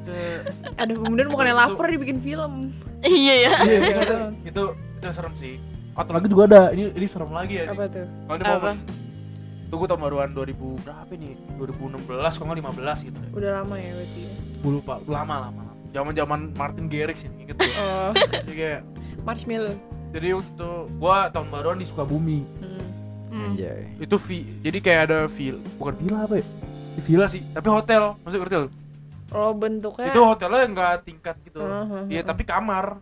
Eh,
Ada kemudian bukannya
Itu-
lapar dibikin film.
Iya ya.
iya itu, itu, itu itu serem sih atau lagi juga ada ini ini serem lagi ya
Apa tuh?
kalau di
Apa?
momen itu gua tahun baruan 2000 berapa nih 2016 kalau nggak 15 gitu deh
Udah lama ya berarti.
gua lupa lama lama zaman zaman Martin Garrix ini inget gua
Oh,
jadi kayak
marshmallow.
jadi waktu itu gua tahun baruan di Sukabumi
Hmm.
Hmm.
Anjay.
itu vi, jadi kayak ada vil bukan villa apa ya villa sih tapi hotel maksudnya hotel
Oh, bentuknya
itu hotelnya nggak tingkat gitu
Heeh,
Iya tapi kamar,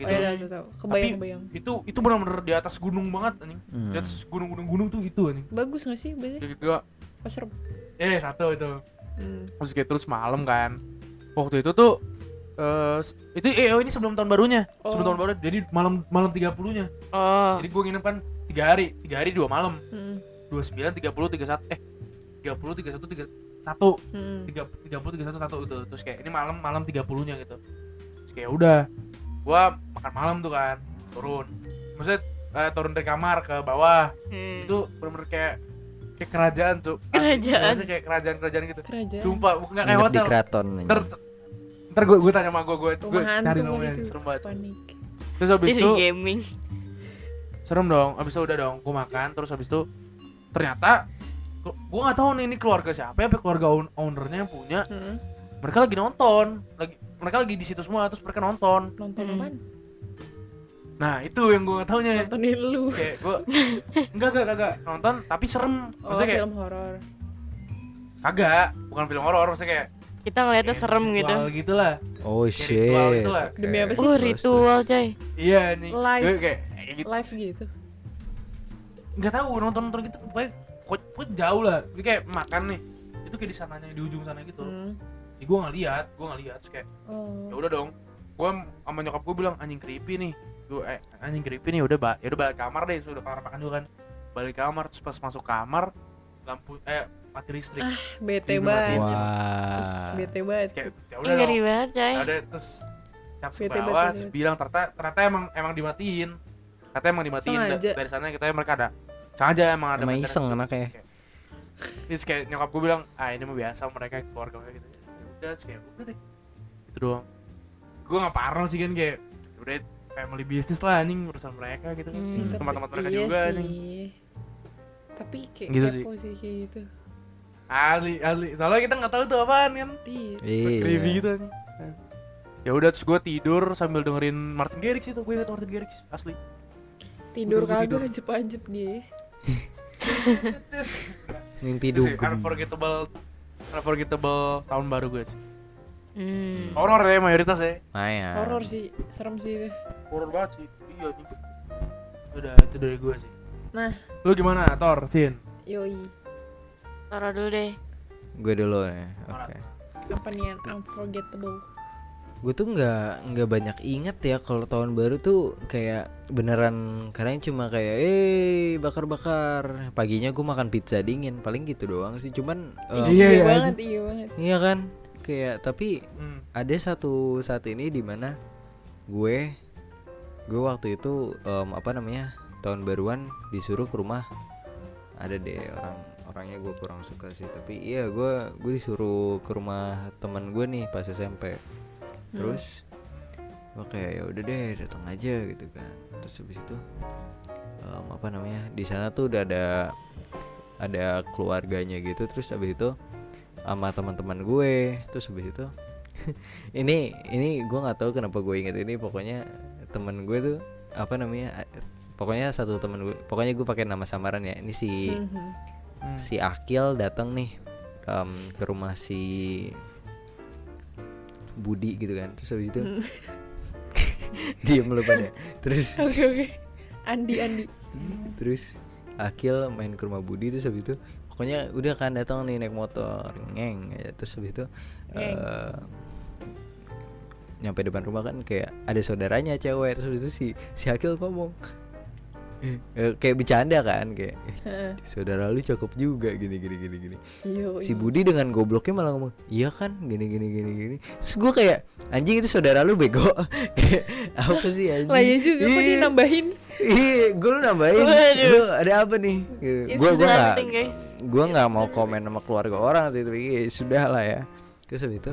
Oh,
gitu.
iya, udah tahu. Kebayang-kebayang.
Itu itu benar-benar di atas gunung banget anjing.
Hmm.
Di atas gunung-gunung gunung tuh itu anjing.
Bagus gak sih biasanya?
Kayak gitu, gua-
Pas serem.
eh satu itu.
Hmm.
Terus kayak terus malam kan. Waktu itu tuh eh s- itu eh oh, ini sebelum tahun barunya. Sebelum
Oh.
tahun baru jadi malam malam 30-nya.
Oh.
Jadi gua nginep kan 3 hari, 3 hari 2 malam.
Hmm.
29 30 31 eh 30 31 31
Hmm.
tiga tiga puluh tiga satu satu itu terus kayak ini malam malam 30 nya gitu terus kayak udah gua makan malam tuh kan turun maksudnya eh, turun dari kamar ke bawah
Hmm.
itu bener-bener kayak kayak kerajaan tuh
Kerajaan.
kayak kerajaan kerajaan gitu
Kerajaan.
sumpah bukan kayak
Nginep di
hotel
keraton. anjing.
ntar ntar gue gue tanya sama gue gue
Rumah
cari
hantu
namanya
gitu.
serem banget
Panik.
terus habis
Ini
itu
gaming.
serem dong abis itu udah dong gue makan terus habis itu ternyata gue gak tahu nih ini keluarga siapa ya apa keluarga own- ownernya yang punya
Hmm.
mereka lagi nonton lagi mereka lagi di situ semua terus mereka nonton
Nonton
Hmm.
apaan?
Iya. nah itu yang gue nggak taunya
Nontonin lu.
terus kayak gue enggak enggak enggak nonton tapi serem
Oh,
maksudnya kayak
film horor.
kagak bukan film horor maksudnya kayak
Kita ngeliatnya
kayak
serem gitu.
ritual gitu lah
Oh
kayak ritual
shit.
gitu lah
Demi apa sih?
Oh
Terus,
ritual
terus.
coy.
iya nih
Live.
Gue kayak kayak gitu
Live gitu.
nggak tahu nonton nonton gitu pokoknya kok kok jauh lah Jadi kayak makan nih itu kayak di sananya di ujung sana gitu
Hmm.
Jadi gue nggak lihat gue nggak lihat terus kayak ya
Oh.
udah dong gue sama nyokap gue bilang anjing creepy nih gue eh, anjing creepy nih udah ba ya udah balik kamar deh sudah kamar makan dulu kan balik kamar terus pas masuk kamar lampu eh mati listrik
Bete banget.
Ini berarti.
Wah.
Bete banget.
terus kayak ya
Ini
udah dong
Ngeri banget coy.
ya udah terus cap ke
Bete banget
bawah
ini.
terus bilang ternyata ternyata emang emang dimatiin ternyata emang dimatiin Da-
Sengaja.
dari sana kita mereka ada sengaja emang ada
Emang
maintenance
iseng
gitu.
anaknya.
Terus kayak- terus kayak nyokap gue bilang ah ini mah biasa mereka keluarga mereka gitu Ya udah terus kayak udah deh itu doang gue nggak parno sih kan kayak "Ya udah family business lah anjing urusan mereka gitu kan
Hmm.
Tapi-
Tempat-tempat mereka
iya
juga,
sih.
anjing.
Tapi kayak
Gitu
gitu
sih.
kepo sih kayak gitu.
asli asli soalnya kita nggak tahu tuh apaan kan
Iya.
Iya.
creepy gitu anjing ya udah terus gue tidur sambil dengerin Martin Garrix itu gue inget Martin Garrix asli
Tidur
Udah, gua tidur.
kagak ajep-ajep dia.
Mimpi
Itu sih,
dugem.
unforgettable unforgettable tahun baru guys
Hmm.
horor ya mayoritas ya
Maya.
Horor sih, serem sih itu.
horor banget sih iya nih udah itu dari gue sih
Nah,
lu gimana Thor Sin
yoi.
Taruh dulu deh.
Gue dulu nih. ya. Oke.
Apa nih yang unforgettable?
gue tuh nggak nggak banyak inget ya kalau tahun baru tuh kayak beneran kadang cuma kayak eh bakar-bakar paginya gue makan pizza dingin paling gitu doang sih cuman
Iya,
eh,
iya, iya.
banget, iya banget.
iya kan kayak tapi
Hmm.
ada satu saat ini dimana gue gue waktu itu em, apa namanya tahun baruan disuruh ke rumah ada deh orang orangnya gue kurang suka sih tapi iya gue gue disuruh ke rumah teman gue nih pas SMP terus gue kayak ya udah deh datang aja gitu kan terus habis itu em, apa namanya di sana tuh udah ada ada keluarganya gitu terus habis itu sama teman-teman gue terus habis itu ini ini gue nggak tahu kenapa gue inget ini pokoknya teman gue tuh apa namanya eh, pokoknya satu teman gue pokoknya gue pakai nama samaran ya ini si
Mhm.
Hmm.
si Akil datang nih em, ke rumah si Budi gitu kan terus habis itu diem lu pada terus
Oke oke. Andi Andi.
terus Akil main ke rumah Budi terus habis itu pokoknya udah kan datang nih naik motor ngeng ya. terus habis itu
Ngeng.
eh, nyampe depan rumah kan kayak ada saudaranya cewek terus habis itu si si Akil ngomong Eh, kayak bercanda kan kayak "Eh,
Heeh.
saudara lu cakep juga gini gini gini gini
Yo,
si
yo.
Budi dengan gobloknya malah ngomong iya kan gini gini gini gini terus gue kayak anjing itu saudara lu bego kayak apa sih anjing
Lah ya juga kok
Iya.
dia nambahin.
Iya, gue lu nambahin.
Waduh.
Lu ada apa nih? Gitu.
It's
Gue gue nggak
nothing, guys.
gue nggak mau komen sama keluarga orang sih, tapi ya sudah lah ya. Terus habis itu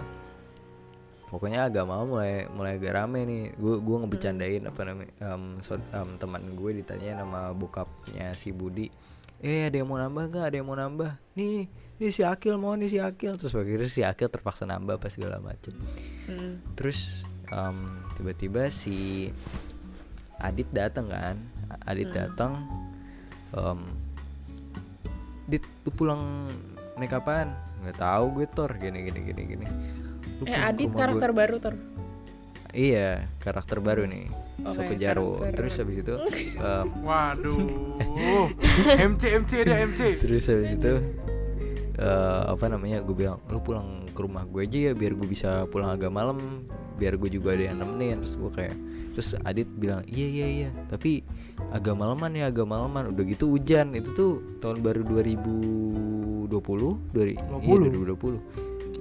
pokoknya agama mulai mulai agak rame nih. Gue
Hmm.
gue ngebecandain apa namanya em, saud- em, teman gue ditanya nama bokapnya si Budi. Eh ada yang mau nambah gak? Ada yang mau nambah? Nih, nih si Akil mau nih si Akil. Terus akhirnya si Akil terpaksa nambah apa segala macem
Mm.
terus em, tiba-tiba si Adit datang kan Adit datang em, Dit lu pulang naik apaan nggak tahu gue tor gini gini gini gini Lu
Eh
pulang ke
Adit
rumah gue."
karakter baru ter.
iya karakter baru nih
Oke,
Soko Jaro
Oh, karakter.
terus habis itu em,
Waduh. MC MC dia MC.
terus habis itu eh, apa namanya gue bilang lu pulang ke rumah gue aja ya biar gue bisa pulang agak malam biar gue juga ada yang nemenin terus gue kayak terus Adit bilang iya iya iya tapi agak malaman ya agak malaman udah gitu hujan itu tuh tahun baru 2020 dari
20?
Iya,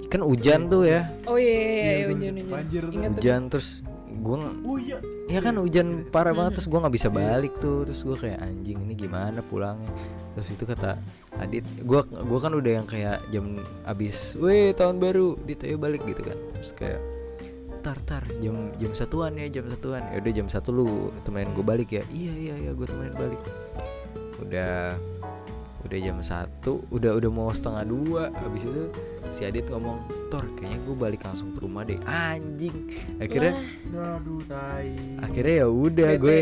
2020 kan hujan tuh ya
Oh iya iya iya,
Iya,
iya
betul,
hujan
betul.
hujan.
Banjir tuh.
Ingat tuh.
hujan terus gue nge-
Oh iya. Gitu.
Iya kan hujan parah banget terus gue nggak bisa balik tuh terus gue kayak anjing ini gimana pulangnya terus itu kata Adit gue gua kan udah yang kayak jam abis, weh tahun baru Dit ayo balik gitu kan terus kayak tar tar jam jam satuan ya jam satuan ya udah jam satu lu temenin gue balik ya iya iya iya gue temenin balik udah udah jam satu udah udah mau setengah dua abis itu si Adit ngomong Tor kayaknya gue balik langsung ke rumah deh anjing akhirnya
Aduh tai.
akhirnya ya udah
Bete.
gue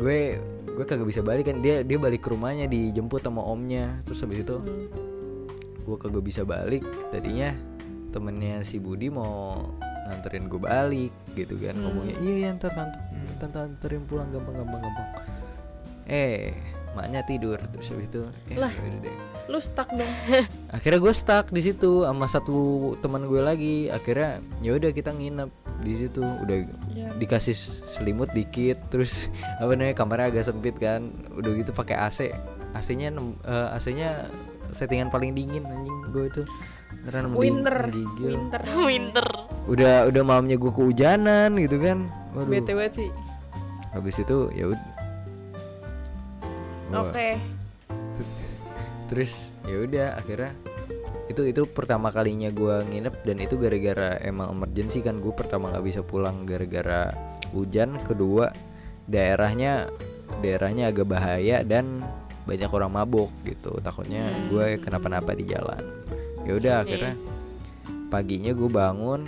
gue gue kagak bisa balik kan dia dia balik ke rumahnya dijemput sama omnya terus habis itu gue kagak bisa balik tadinya temennya si Budi mau nganterin gue balik gitu kan
Hmm.
ngomongnya iya iya ntar tante tante anterin pulang gampang gampang gampang eh maknya tidur terus habis itu eh,
Lah.
yaudah deh
Lu stuck dong.
akhirnya gue stuck di situ sama satu teman gue lagi akhirnya ya udah kita nginep di situ udah
Ya.
dikasih selimut dikit terus apa namanya kamarnya agak sempit kan udah gitu pakai AC AC-nya nem- eh, AC-nya settingan paling dingin anjing gue itu beneran mending-
Winter.
menggigil.
Winter.
Winter.
udah udah malamnya gue kehujanan gitu kan waduh
Bete banget sih.
habis itu ya ud- Wah.
Oke.
terus ya udah akhirnya itu itu pertama kalinya gua nginep dan itu gara-gara emang emergency kan gue pertama nggak bisa pulang gara-gara hujan kedua daerahnya daerahnya agak bahaya dan banyak orang mabok gitu takutnya gue kenapa-napa di jalan ya udah akhirnya paginya gue bangun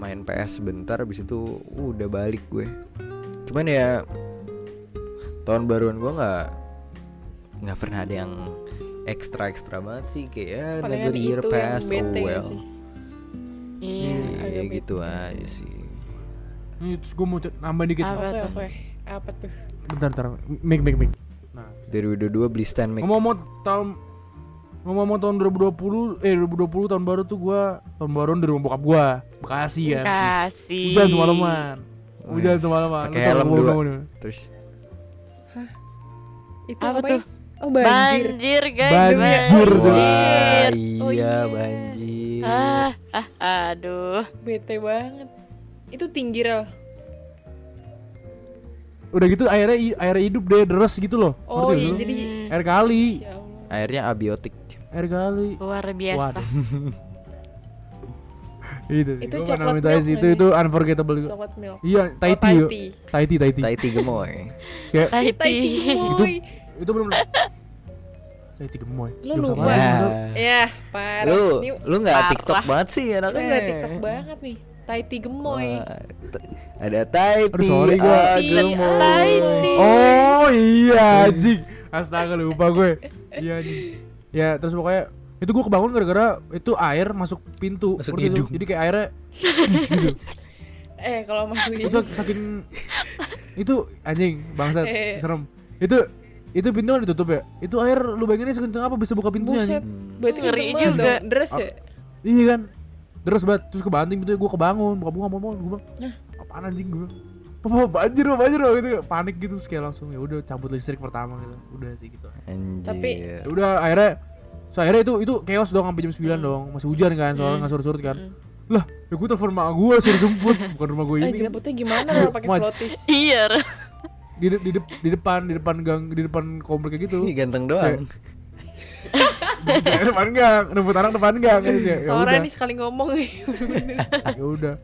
main PS sebentar habis itu uh, udah balik gue cuman ya tahun baruan gue nggak nggak pernah ada yang ekstra ekstra banget sih kayak ya,
Palingan
another year
itu yang
passed oh
bete ya
well
sih.
Iya.
Iya,
agak bete.
gitu aja sih
Ini terus gue mau c- nambah dikit.
Apa
Oke
tuh?
oke. Apa tuh?
Bentar bentar. Mik mik mik. Nah,
2022 beli stand mic
ngomong-ngomong tahun ngomong-ngomong tahun 2020 eh 2020 tahun baru tuh gue tahun baru di rumah bokap gue Bekasi ya
Kasih.
hujan semalaman hujan
Wes,
semalaman
pakai
Lu tahu
helm
gua
dua.
bangun.
terus
Itu
Apa
apa,
tuh?
ya? Oh banjir.
Banjir, guys.
Banjir tuh.
wah
Oh,
iya
iya.
banjir
Ah, ah, aduh.
Bete banget. Itu tinggi rel.
udah gitu airnya i- airnya hidup deh deres gitu loh
oh iya
Ngerti nggak lu?
jadi
Hmm,
air kali
ya Allah
airnya abiotik
air kali
Oh,
luar
iya,
biasa.
waduh itu
Itu
gua
coklat
namain itu aja
milk
sih. itu
nggak
itu unforgettable juga.
coklat milk
iya
Oh,
Thai tea yuk. Thai tea Thai tea
tai gemoy
kayak
Tahiti.
Itu-
Woi.
itu belum Thai tea gemoy
Lu
Jokes
lupa.
apaan sih lu?
ya
ya parah
lu
Ini
lu nggak
Parah.
tiktok banget sih
kan
lu
anaknya
ya.
nggak tiktok banget nih Taiti
Ah,
gemoy
Wah, t- ada tai
Aduh, sorry gua.
Iya,
Tahiti.
Oh iya anjing Astaga lupa gue Iya anjing Ya terus pokoknya Itu gue kebangun gara-gara Itu air masuk pintu
Masuk
Ngerti
hidung.
sih? Jadi kayak airnya zzz, gitu.
eh kalau masuk
Itu
hidung
saking Itu anjing Bangsa
Eh.
serem Itu Itu pintu kan ditutup ya Itu air lu bayanginnya sekenceng apa bisa buka pintunya
buset
anjing
berarti
Ngeri
kenceng banget
juga.
dong. deres ya
Iya kan Terus banget Terus kebanting pintunya Gue kebangun Buka buka mau Gue bilang
Nah.
Apaan anjing gue Papa banjir Papa banjir Papa," gitu Panik gitu Terus kayak langsung ya udah cabut listrik pertama gitu Udah sih gitu
Anjir.
Tapi-
Ya udah akhirnya so akhirnya itu itu chaos dong sampai jam 9
Hmm.
dong masih hujan kan soalnya nggak surut-surut kan lah ya gue telepon mak gue suruh jemput bukan rumah gue
eh
ini kan
jemputnya gimana kalau pakai
Wah.
flotis
Iya.
di, de- di, de- di depan di depan gang di depan komplek gitu
Ih, ganteng doang
Saya depan gang jemput anak depan gang Terus ya ya udah
orang nih sekali ngomong
ya udah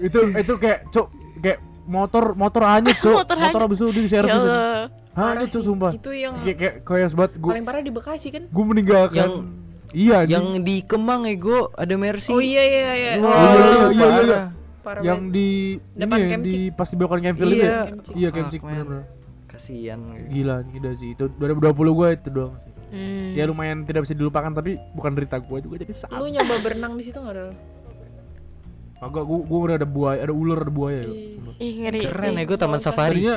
itu itu kayak cok kayak motor motor hanyut cok
Motor
motor,
hanyut.
abis itu di
Ya
servis aja.
Allah.
hanyut cok sumpah
itu yang
kayak kayak chaos banget gue
paling parah di Bekasi kan
gue meninggalkan
Yang-
iya anjing.
yang di Kemang ego ada Mercy
oh iya iya iya
Wah,
Oh,
iya, iya, iya, iya.
parah.
parah
yang
banget.
di
Depan
ini ya,
Kemcik.
di pasti belokan Kemfil itu
Iya.
ya?
Kemcik.
iya
Fuck,
Kemcik
man.
bener-bener
kasihan
gila gila sih itu 2020 gue itu doang sih
Hmm.
ya lumayan tidak bisa dilupakan tapi bukan derita gue juga jadi
lu
saat
nyoba berenang di situ nggak ada
agak gue gue udah ada buaya ada ular ada buaya ya
Iya.
Ih.
sumpah.
Ih ngeri.
keren
Ih,
ego taman
Oh,
nggak usah.
safari
tadinya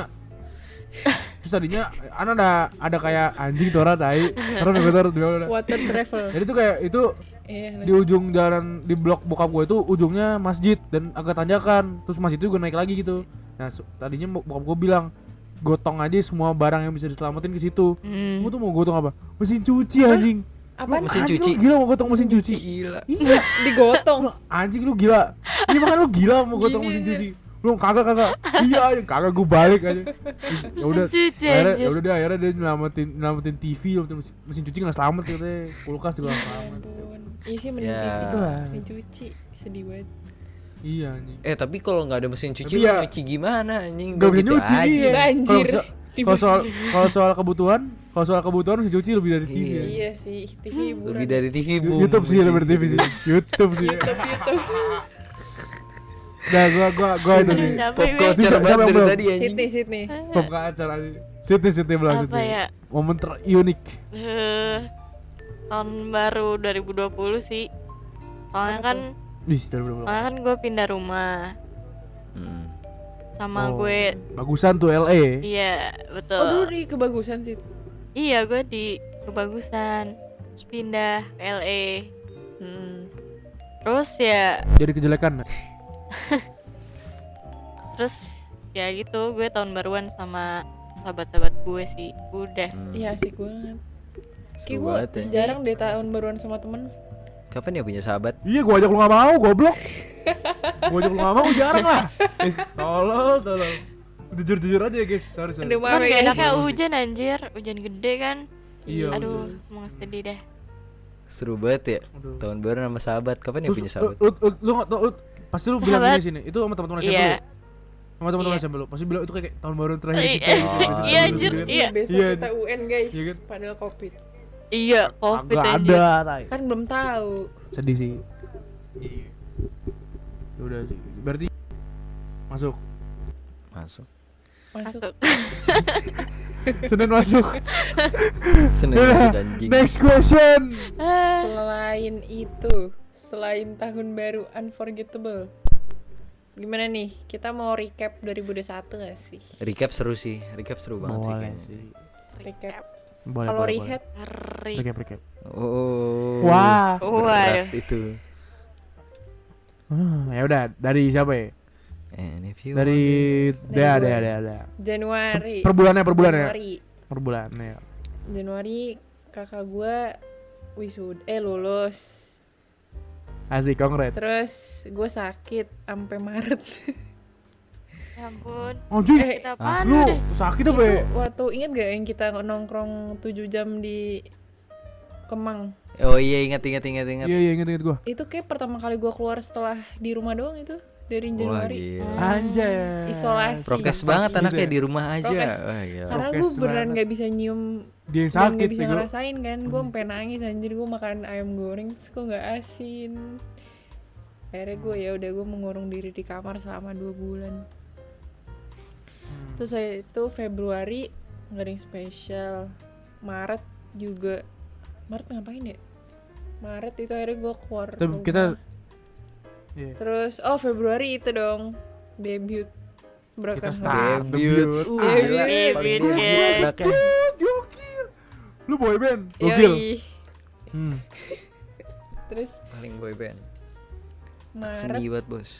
terus tadinya ana ada ada kayak anjing tora tai serem ya gue tora di bawah.
water travel
jadi tuh kayak itu
iya
di ujung jalan di blok bokap gue itu ujungnya masjid dan agak tanjakan terus masjid itu gue naik lagi gitu nah se- tadinya bo- bokap gue bilang gotong aja semua barang yang bisa diselamatin ke situ
Hmm.
Kamu tuh mau gotong apa mesin cuci anjing
apa
Mesin
anjing
cuci.
lu gila mau gotong mesin cuci
gila
iya
digotong
Lu- anjing lu gila iya makanya lu gila mau gotong
Gini,
mesin
Jin.
cuci lu kagak kagak iya anjing, kagak gue balik aja Terus ya udah
Cuci,
akhirnya
anjing.
ya udah dia akhirnya dia nyelamatin nyelamatin TV nyelamatin mesin, mesin cuci nggak selamat katanya kulkas juga nggak selamat
Ampun. iya sih mending
Ya.
TV
Wah.
dicuci sedih banget
iya anjing
eh tapi kalau nggak ada mesin cuci
Tapi
lu
ya-
nyuci gimana anjing
Gak
Gua
bisa
gitu
nyuci
aja.
iya.
Banjir.
Kalau so-
Tiba-
Kalau soal kalau soal kebutuhan, kalau soal kebutuhan mesin cuci lebih dari TV.
Iya.
ya.
iya sih TV hiburan
lebih dari TV
Y-
boom
YouTube sih lebih dari TV sih. YouTube sih.
YouTube YouTube
Nah, gua gua gua itu sih.
Capek
pop
gue.
Bisa,
culture banget
siapa yang
dari
belum?
tadi anjing
Sydney Sydney
Pop ke acara ini. Siti Siti bilang
Apa
Siti.
ya?
Momen terunik.
Eh, tahun baru 2020 sih. Soalnya kan,
Wis, dari berapa?
soalnya kan gue pindah rumah
Hmm.
sama
Oh.
gue.
Bagusan tuh E, LA.
Iya,
oh dulu
betul.
di kebagusan sih
iya, gue di kebagusan. Terus pindah ke LA. Hmm. Terus ya,
Jadi kejelekan.
terus ya gitu gue tahun baruan sama sahabat-sahabat gue sih. Udah.
Hmm.
iya asik banget
Seru
kayak
banget
gue
ya.
jarang deh tahun baruan sama temen
Kapan ya punya sahabat?
Iya, gua ajak lu gak mau, goblok. Gua ajak lu gak mau, jarang lah. Eh, Tolol, tolol. Jujur-jujur aja ya, guys. Sorry, sorry.
aduh
Kan
maaf
gak
ya
enaknya hujan anjir, hujan gede kan.
Iya,
Aduh,
hujan.
mau sedih deh.
Seru banget ya.
Aduh.
Tahun baru sama sahabat. Kapan ya
Terus
punya
lu,
sahabat?
lu, lu, lu, nggak tau, lu, pasti lu bilang
Sahabat.
gini sini itu sama teman-teman SMP
Iya.
lu ya? sama teman-teman
Iya.
SMP lu pasti bilang itu kayak tahun baru terakhir
Eh,
kita gitu
eh,
biasanya
Iya
tahun baru
anjir,
gitu kan.
iya.
besok
Iya.
kita UN guys
Iya kan?
padahal covid
Iya, Covid
Kagak
anjir.
ada tai.
kan belum tahu
sedih sih iya Ya udah sih berarti masuk
Masuk.
masuk
Masuk.
Senin masuk
Senin
Udah.
anjing.
next question
Ah.
Selain itu, selain tahun baru unforgettable, gimana nih? Kita mau recap 2021 gak sih?
Recap seru sih. Recap seru banget sih.
boleh
kayaknya.
sih
Recap.
boleh
Kalau
boleh,
rehat,
boleh.
Ngeri.
Recap, recap.
Oh.
wah
Berat
Waduh.
itu.
Hmm, ya udah dari siapa ya
And if you
dari
Dari
ada
gue.
ada ada
Januari.
per bulannya per ya? bulannya
Januari.
per bulannya
Januari kakak gue wisud eh lulus.
asik kongret
Terus gue sakit sampai Maret.
Ya ampun.
Anjing,
Eh,
Kita apaan
lu
udah?
sakit
itu
apa ya?
waktu inget gak yang kita nongkrong 7 jam di Kemang
Oh iya ingat ingat ingat ingat.
Iya, iya, inget-inget gue
itu kayak pertama kali gua keluar setelah di rumah doang itu dari
Wah
Januari Ah,
gila.
Anjay
Eh, Isolasi.
Prokes
Prokes
banget
juga.
anaknya di rumah aja.
Prokes.
Wah, gila.
karena
Prokes
gue beneran
banget.
gak bisa nyium
Dia yang
dan
sakit Hmm.
gak bisa
bego.
ngerasain kan gue sampai nangis anjir gue makan ayam goreng terus kok gak asin akhirnya gue ya udah gue mengurung diri di kamar selama dua bulan
Hmm.
terus saya itu Februari nggak ada yang spesial Maret juga Maret ngapain ya Maret itu akhirnya gue keluar
Kita,
rumah.
kita Iya.
terus oh Februari itu dong debut
Kita
Broken Heart.
start debut.
Debut.
Ah, iya,
Gila,
debut,
paling
debut.
debut. Bahkan
Gokil. Lu boyband. Gokil.
Yoi.
Hmm.
terus
Paling boyband.
Maret
Seni banget bos.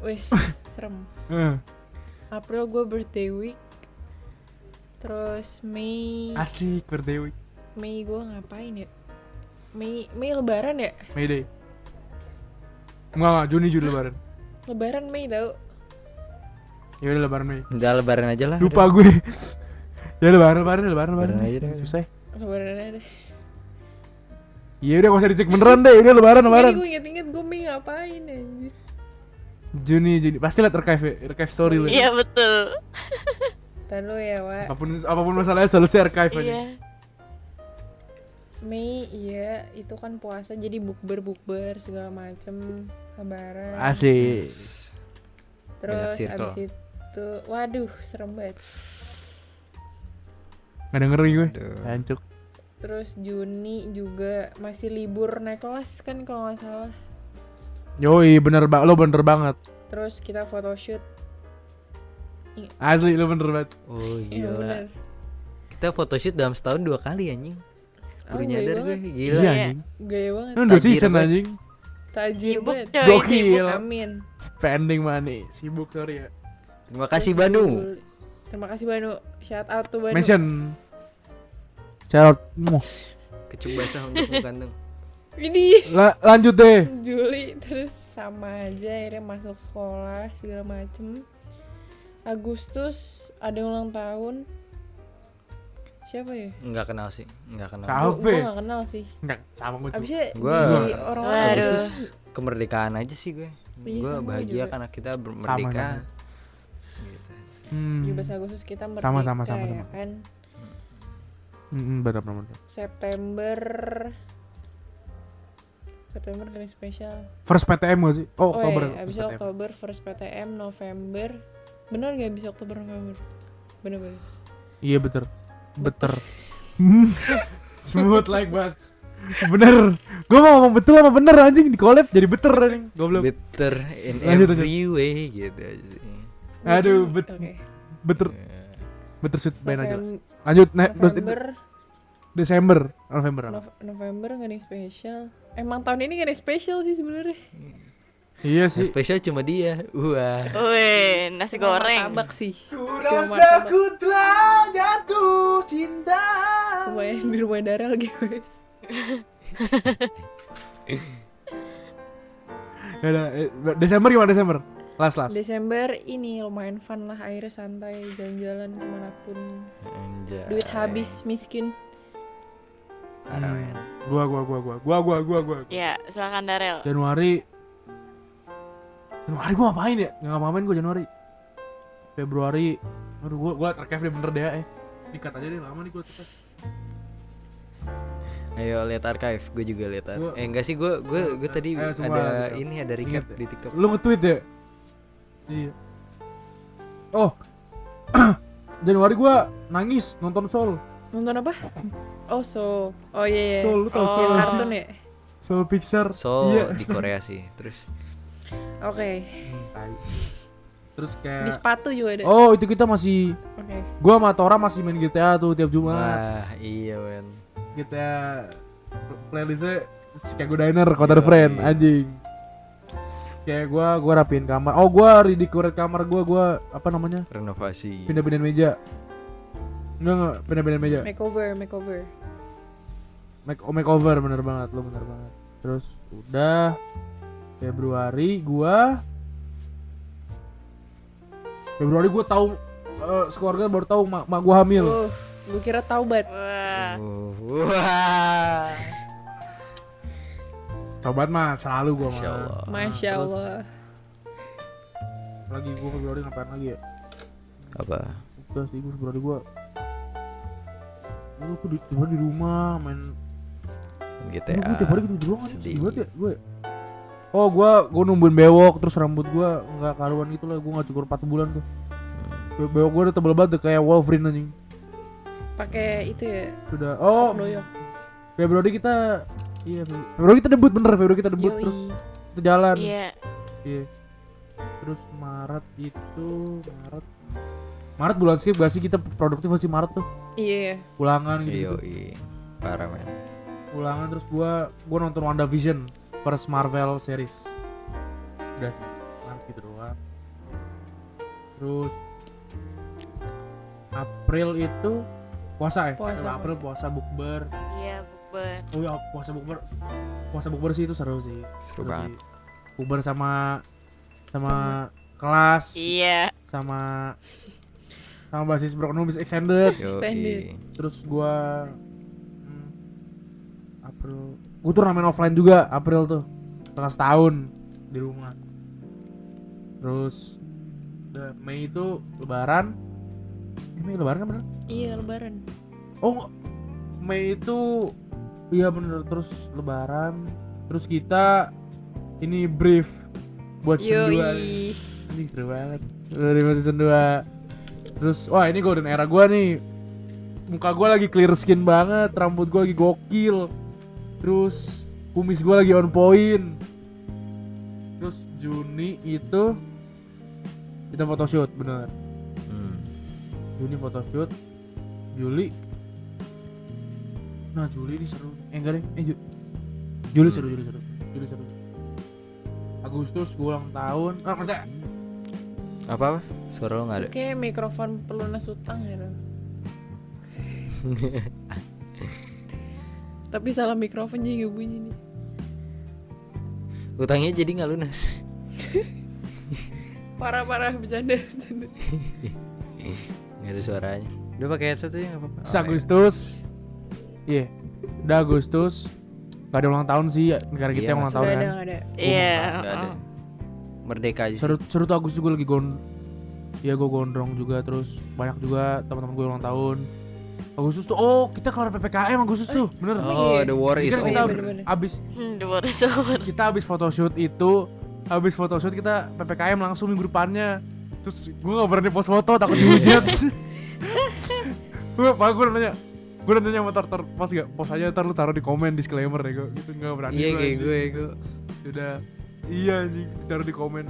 wis serem
Eh,
April gue birthday week terus Mei
Asik berdewi.
Mei gue ngapain ya Mei Mei Lebaran ya
Mayday. Enggak, enggak, Juni Juni lebaran.
Lebaran Mei tau
Ya udah lebaran Mei.
Udah lebaran aja lah.
Lupa gue. ya lebaran lebaran lebaran lebaran.
Lebaran aja deh.
Susah. ya.
Lebaran ada
Ya udah gak usah dicek beneran deh. Udah lebaran lebaran.
Mei gue inget-inget gue Mei ngapain anjir
Juni Juni pasti liat archive ya, archive story lu.
Iya betul.
Ntar lu ya Wak
Apapun apapun masalahnya solusi archive aja.
Iya.
Mei iya itu kan puasa jadi bukber bukber segala macem Lebaran
Asik.
terus
Banyak circle.
abis itu waduh serem banget
Gak dengerin gue.
Aduh.
Hancuk.
terus Juni juga masih libur naik kelas kan kalau nggak salah
Yoi bener banget. Lo bener banget.
terus kita photoshoot
Asli lo bener banget.
Oh
Iya, bener.
gila. Kita photoshoot dalam setahun dua kali anjing.
Oh, gaya
Baru nyadar gue.
banget.
Gila.
Iya anjing.
Gaya banget.
Ini udah
Tajir
season
banget.
anjing.
Tajir
Sibuk
banget.
coy,
Gokil.
sibuk.
Amin.
Spending money. Sibuk sorry ya.
Terima kasih Banu.
Terima kasih Banu. Shout out to Banu.
Mention. Shout out. Muah.
Kecup basah untukmu ganteng.
Ini
La- lanjut deh.
Juli terus sama aja akhirnya masuk sekolah segala macem. Agustus ada ulang tahun. Siapa ya?
Enggak kenal sih. Enggak kenal.
Siapa?
Gue
Alve.
gak kenal sih.
Enggak, sama gue juga.
Abisnya
Gua-
di orang-orang
Waduh.
Agustus
Agustus kemerdekaan aja sih gue.
Iya,
gue
sama gue
bahagia
juga.
karena kita ber- merdeka. Gitu.
Hmm.
17 Agustus kita merdeka
Sama, sama, sama,
ya
sama.
kan.
Hmm, benar benar. benar.
September September kali spesial.
First PTM gak sih?
Oh,
Oh, Oktober.
iya,
first
abis
PTM.
Oktober, first PTM, November. Bener gak bisa Oktober, November? Bener-bener.
Iya, bener. Beter. Hmm. Smooth like banget. Bener. Gue mau ngomong betul apa bener anjing di collab jadi beter anjing. Goblok.
Bitter in
Lanjut, lanjut.
every way gitu sih.
Aduh, bet-
Oke.
beter. Beter sweet main aja. lah.
Novem-
Lanjut nah, terus
November,
Desember, November. apa?
Nov- November gak ada yang spesial. Emang tahun ini gak ada yang spesial sih sebenarnya.
Iya
Yang
sih.
spesial cuma dia. Wah.
Wih, nasi goreng.
Tabak sih.
Kurasa ku telah jatuh cinta.
Lumayan di rumah darah lagi guys.
Ya udah, eh, Desember gimana Desember? Last last.
Desember ini lumayan fun lah. Akhirnya santai, jalan-jalan kemanapun.
Anjay.
Eh.
Duit habis, miskin.
Arawen.
Gua gua gua gua gua gua gua gua.
Ya, silakan Darel.
Januari Januari gua ngapain ya? Nggak ngapain gua Januari. Februari aduh gua gua terkef deh bener deh ya. Dikat aja deh lama nih gua terkef.
Ayo lihat archive. Gue juga lihat. ar-
Gua-
Eh enggak sih gue gue gue tadi
Ayo semua
ada
gitu.
ini ada recap
Ingat ya.
di TikTok.
Lu nge-tweet ya? Iya. Oh. Januari gua nangis nonton Soul.
Nonton apa? Oh, so. Oh iya, iya.
Soul, lu tau
Oh,
Soul
yang
sih.
kartun ya?
Soul Pixar.
So
Iya.
di Korea sih. Terus
Oke.
Eh. Terus
Di
kayak
sepatu juga ada. Oke.
Oh, itu kita masih gua sama Tora masih main GTA tuh tiap Jumat.
wah iya men.
GTA playlistnya Chicago Diner Kota The Friend anjing kayak gue gue rapiin kamar oh gue redecorate kamar gue gue apa namanya
Renovasi.
pindah-pindahin meja enggak enggak pindah-pindahin meja
Makeover, makeover.
Make oh, makeover bener banget lo bener banget terus udah Februari gue Februari gue tahu eh, sekeluarga baru tahu mak, mak gue hamil.
Oh.
Uh, gue kira taubat.
Wah.
Wah.
Sobat mah selalu gue
Masya
mah.
Allah.
Masya Allah.
Lagi gue Februari ngapain lagi ya?
Apa?
Udah sih gue Februari gue. Lu gue di, tiap hari di rumah main.
GTA.
Lu gue tiap hari gitu doang anjing,
Sedih.
sedih banget ya gue. Oh gue gue numbuin bewok terus rambut gue nggak karuan gitu lah gue nggak cukur 4 bulan tuh. Be- Bewok gue udah tebel banget udah kayak Wolverine anjing.
Pakai itu ya.
Sudah. Oh,
Doyok.
Februari kita iya Februari- Februari kita debut bener Februari kita debut
Yoi.
terus kita jalan.
Iya.
Iya. Terus Maret itu Maret Maret bulan skip gak sih kita produktif masih Maret tuh
Iya.
ulangan gitu,
Iyo, Parah men.
ulangan terus gua gua nonton WandaVision first Marvel series udah sih Maret gitu doang terus April itu puasa ya
Puasa,
April puasa bukber
Iya, bukber.
Oh ya puasa bukber puasa bukber sih itu seru sih
Seru
Seru
banget.
sih. Bukber sama sama kelas
Iya.
sama sama basis Brokonomis extended
Yo,
Standard.
terus gua hmm, April gua turnamen offline juga April tuh setelah setahun di rumah terus udah, Mei itu Lebaran Eh, Mei Lebaran kan bener
Iya lebaran.
Oh, Mei itu iya bener terus lebaran. Terus kita ini brief buat season 2.
Yoi.
Anjing seru banget. Dari season 2. Terus wah ini golden era gua nih. Muka gua lagi clear skin banget, rambut gua lagi gokil. Terus kumis gua lagi on point. Terus Juni itu kita photoshoot bener.
Hmm.
Juni photoshoot Juli nah Juli ini seru eh enggak deh eh Ju- Juli seru Juli seru Juli seru Agustus gue ulang tahun ah maksudnya
Apa? apa? Suara lo nggak ada.
Oke, mikrofon pelunas utang ya. Ron. Tapi salah mikrofon jadi gak bunyi nih.
Utangnya jadi nggak lunas.
Parah-parah bercanda bercanda.
Nggak ada suaranya. Udah pakai headset aja nggak apa-apa.
Terus Agustus iya udah Agustus gak ada ulang tahun sih negara kita
Iya,
yang ulang
masih
tahun
Gak
kan
ada gak ada.
Iya.
Nggak ada.
heeh.
Merdeka aja.
seru
Seru.
seru tuh Agustus gue lagi gon ya gue gondrong juga terus banyak juga teman-teman gue ulang tahun Agustus tuh oh kita kelar ppkm Agustus tuh bener
Oh,
Iya.
the war is
Oh,
Kan kita
iya,
over.
bener-bener.
abis
Hmm, the world is over.
kita habis photoshoot itu habis photoshoot kita ppkm langsung minggu depannya terus gue gak berani post foto
Iya.
takut dihujat gue malah gue nanya gue nanya sama tar tar post gak post aja ntar lu taruh di komen disclaimer deh gue gitu gak berani
Iya,
gua,
kayak
anjing.
gue, gue.
sudah iya anjing taruh di komen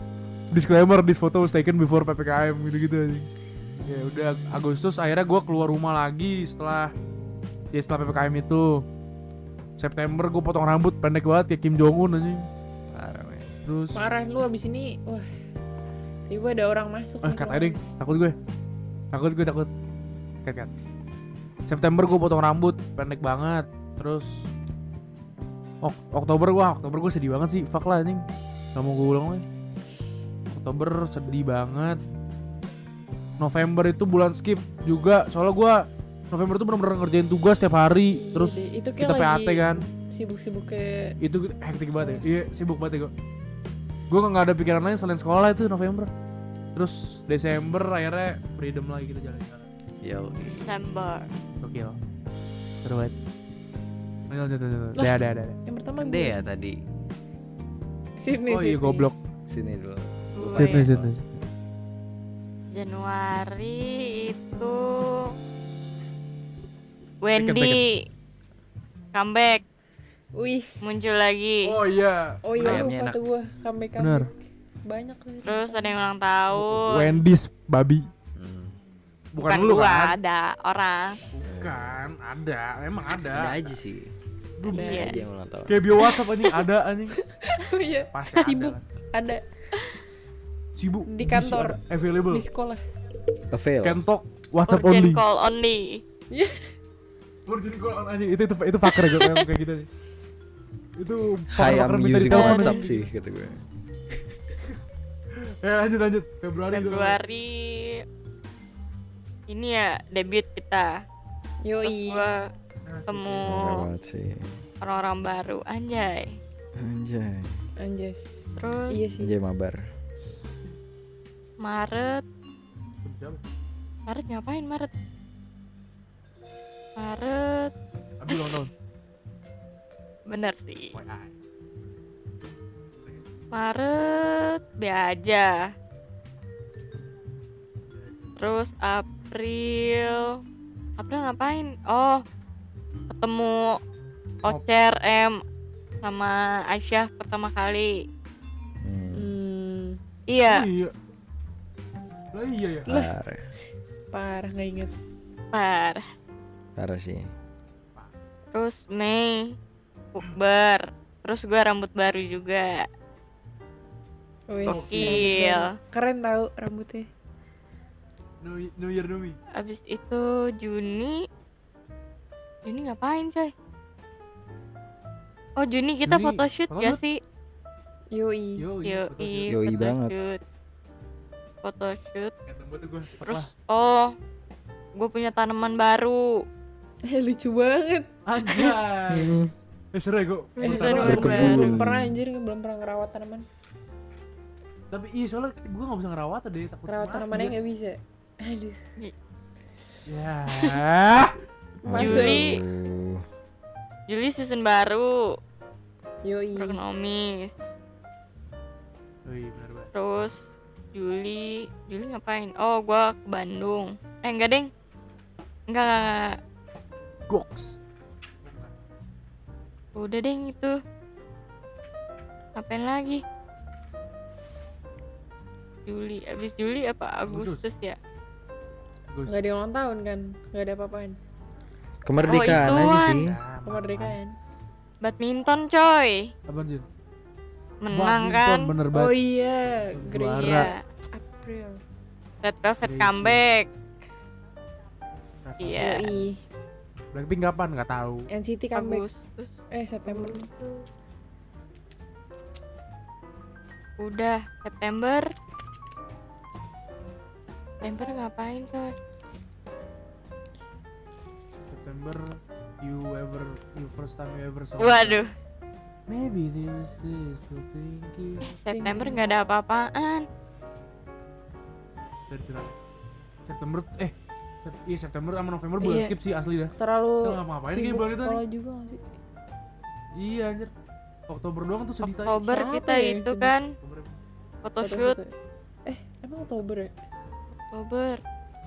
disclaimer this photo was taken before ppkm gitu gitu anjing ya udah Agustus akhirnya gue keluar rumah lagi setelah ya setelah ppkm itu September gue potong rambut pendek banget kayak Kim Jong Un anjing
Parah men.
terus
Parah lu abis ini, wah. Tiba ada orang masuk.
Eh
nih
katanya
kalau-
ding, takut gue. Takut gue takut. Kat kat. September gue potong rambut pendek banget. Terus Ok- Oktober gue Oktober gue sedih banget sih. Fuck lah anjing. Gak mau gue ulang lagi. Oktober sedih banget. November itu bulan skip juga. Soalnya gue November itu bener-bener ngerjain tugas tiap hari.
Iya
Terus
deh, itu kayak
kita PAT
lagi-
kan
Sibuk-sibuk ke
itu hektik banget ya iya sibuk banget ya gue gue nggak ada pikiran lain selain sekolah itu November terus Desember akhirnya freedom lagi kita jalan-jalan
Yo.
December.
oke loh seru banget Ayo, lanjut lanjut lanjut. Dah, dah, dah, dah.
yang pertama
Ada
gue.
ya tadi.
Sini
oh iya
sini.
goblok
Sini dulu.
Gua
sit nih
ya.
sit nih sit nih.
Januari itu Wendy comeback
Wih.
muncul lagi.
oh iya
Oh iya
Ayamnya
lupa
enak.
tuh gue comeback
Bener.
Banyak lah.
Terus ada yang ulang tahun.
Wendy's babi
Hmm.
bukan, lu
gua,
kan
ada orang.
bukan ada emang
Ada
ada
aja sih.
Lu-
Ada.
Ada
Iya.
aja yang ulang tahun.
kayak bio WhatsApp anjing ada anjing
Oh iya.
pasti ada kan?
Sibuk.
lah.
Ada
sibuk
Di
busy
kantor.
ada. available
di sekolah.
Avail.
can talk WhatsApp
Urgent
only
call only.
Iya.
Urgent call on anjing itu itu itu fucker gue kayak kayak gitu anjing. Itu
Hi,
fucker-fucker
I'm
minta di
using
telepon
WhatsApp
anjing.
sih kata gue.
ya lanjut lanjut Februari dulu. Nah,
Februari ini ya debut kita. Terus
Yoi.
gue
Asik.
ketemu
Lewat sih.
orang-orang baru, anjay.
Anjay.
Anjas.
Terus?
Iya sih.
Anjay mabar.
Maret,
Siapa?
Maret ngapain Maret? Maret,
Abi ulang tahun.
bener sih.
WA.
Maret, be aja. Terus April, April ngapain? Oh, ketemu
Oh.
Ocer M sama Aisyah pertama kali.
Hmm.
Hmm,
Oh,
Iya,
Iya. Lah iya ya.
Parah.
parah nggak inget.
par.
Parah sih.
Terus Mei, bukber. Terus gue rambut baru juga.
Wih,
Gokil.
Keren tau rambutnya.
New, New Year New Me.
Abis itu Juni, Juni ngapain coy? Oh Juni kita
Juni,
photoshoot
photoshoot.
gak sih?
Yoi.
Yo,
Yo,
iya.
Yoi banget.
Foto shoot.
tuh gue.
Terus oh, gue punya tanaman baru.
Eh, lucu banget.
Iya.
Anjay.
Hmm.
Eh seru ya gue.
Eh,
Beneran
tanaman
baru.
baru. Belum
Baru.
pernah anjir, belum pernah ngerawat tanaman.
Tapi iya soalnya gue gak bisa ngerawat deh takut
Ngerawat
mati
tanamannya
ya.
gitu?
nggak bisa. Aduh.
Ya.
Masuk.
Juli.
Aduh.
Juli season baru,
Iya.
Yoi.
ekonomis.
Wih, benar banget.
Terus Juli, Juli ngapain? Oh, gua ke Bandung. Eh, enggak, Deng. Enggak, enggak, enggak.
Goks.
Udah, Deng, itu. Ngapain lagi? Juli, abis Juli apa
Agustus.
Agustus ya?
Goks.
Nggak ada ulang tahun kan? Nggak ada apa-apaan.
Kemerdekaan aja
Oh, ituan.
sih.
Kemerdekaan.
Badminton, coy.
Apaan Jin?
Menang
Badminton,
kan?
bener
Oh
banget.
iya,
Juara.
Gracia. April.
Red Velvet
Crazy.
comeback. Iya.
Yoi.
Blackpink kapan? Gak tahu.
NCT comeback.
Agustus
Eh, September.
udah September. September ngapain coy?
September you ever you first time you ever saw.
Waduh,
Maybe this is for thinking.
September nggak ada apa-apaan.
Sorry, curang. September eh Sep- iya September sama November bulan
Iya.
skip sih asli dah.
Terlalu
Kita nggak ngapain kayak
sibuk
bulan itu nih.
sekolah juga nggak sih?
Iya anjir. Oktober doang tuh sedih tai.
Oktober
Siapa
kita
ya yang
itu
sibuk?
kan
Oktober.
photoshoot
Foto-foto. Eh, emang Oktober ya?
Oktober,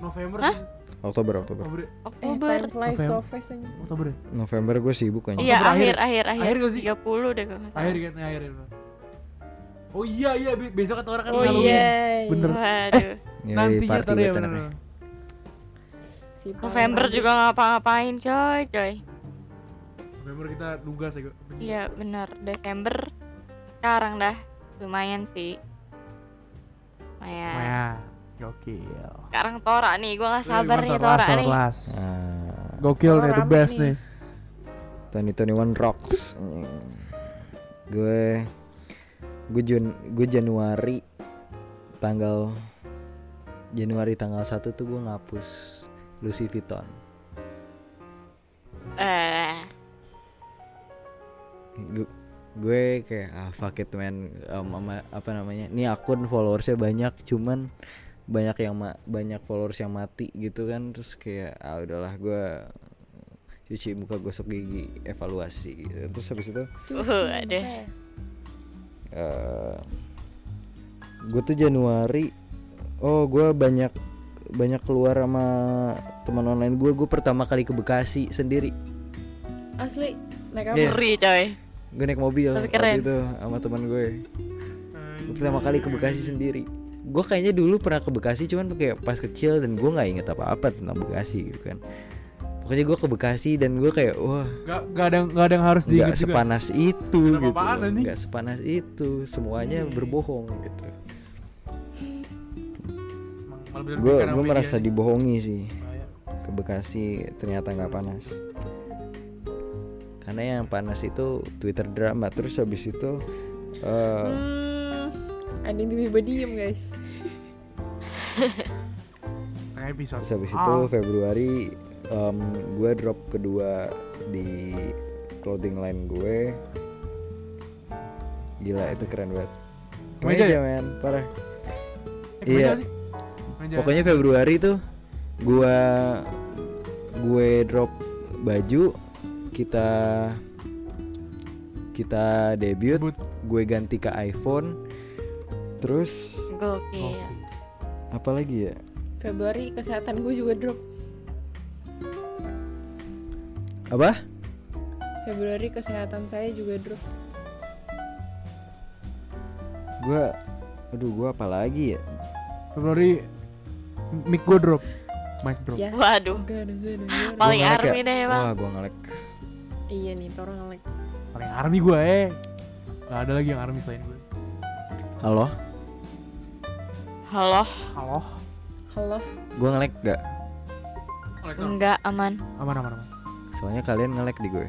November
Hah?
sih.
Oktober, Oktober.
Oktober.
Eh,
Oktober.
time flies
November.
so fast aja.
Oktober. ya?
November gue sibuk kan.
Iya,
Oktober
akhir
akhir.
akhir akhir.
Akhir nggak sih?
30 deh kalau nggak salah.
Akhir kan ya, akhir. ya, bener. Oh iya iya be- besok kata orang kan
Oh
Halloween.
iya.
Bener.
Waduh.
Yoi,
Nantinya
Iya, party
tadi ya
wetan
bener.
aneh.
Si Paul
November
Walsh.
juga ngapa-ngapain coy, coy.
November kita nugas ya, Go.
Iya, benar. Desember sekarang dah lumayan sih. Lumayan.
Wah, gokil.
Sekarang Tora nih, gua nggak
Eh,
sabar nih
mantap,
Tora
last,
nih.
last.
Ah,
Gokil
Tora
nih, the
rame
best
nih.
nih.
Tony Tony One Rocks. Hmm. Gue gue Jun gue Januari tanggal Januari tanggal 1 tuh gue ngapus Lucy Vuitton.
Eh,
Gu- gue kayak ah fuck it man Em, ama- apa namanya ini akun followersnya banyak cuman banyak yang ma- banyak followers yang mati gitu kan terus kayak ah udahlah gue cuci muka gosok gigi evaluasi gitu. terus habis itu
uh, aduh.
gue eh, tuh Januari oh gue banyak banyak keluar sama teman online gue gue pertama kali ke Bekasi sendiri
Asli naik apa?
Iya.
Ngeri coy.
gue naik mobil
Tapi keren.
waktu itu sama teman gue Gua pertama kali ke Bekasi sendiri gue kayaknya dulu pernah ke Bekasi cuman kayak pas kecil dan gue nggak inget apa-apa tentang Bekasi gitu kan pokoknya gue ke Bekasi dan gue kayak wah
Gak, gak ada gak ada yang harus diingat
nggak
juga. ya?"
sepanas itu
Kenapa
gitu
apaan, anjing? Iya,
nggak sepanas itu semuanya berbohong gitu
Emang malah bener pikiran sama
gue gue
media oh ya,
merasa
nih.
dibohongi sih
Bahaya.
ke Bekasi ternyata nggak panas karena yang panas itu Twitter drama terus habis itu eh,
Hmm, Ada yang tiba-tiba diem guys.
setengah episode
Terus habis itu
Ah.
Februari em, gue drop kedua di clothing line gue. Gila itu keren banget.
Kemeja
Kemeja,
ya?
men, parah.
Eh, kemeja
Iya.
nggak sih? Kemeja.
Pokoknya Februari tuh gua gue drop baju kita kita debut,
Debut.
gue ganti ke iPhone. Terus
Gokil.
Oke.
apa lagi ya?
Februari kesehatan gue juga drop.
Apa?
Februari kesehatan saya juga drop.
Gua aduh gua apa lagi ya?
Februari mic gue drop mic drop
Ya.
Waduh.
Gak ada, gak ada, gak ada.
Oh. Gua
Paling
nge-lag ya?
army deh emang.
Wah, gua ngelek.
Iya nih, torang nge-lag.
paling army gue eh Gak ada lagi yang army selain gue
Halo?
Halo.
halo
Halo.
Gua ngelek gak?
Enggak aman.
Hmm.
aman aman aman
Soalnya kalian ngelek di gue.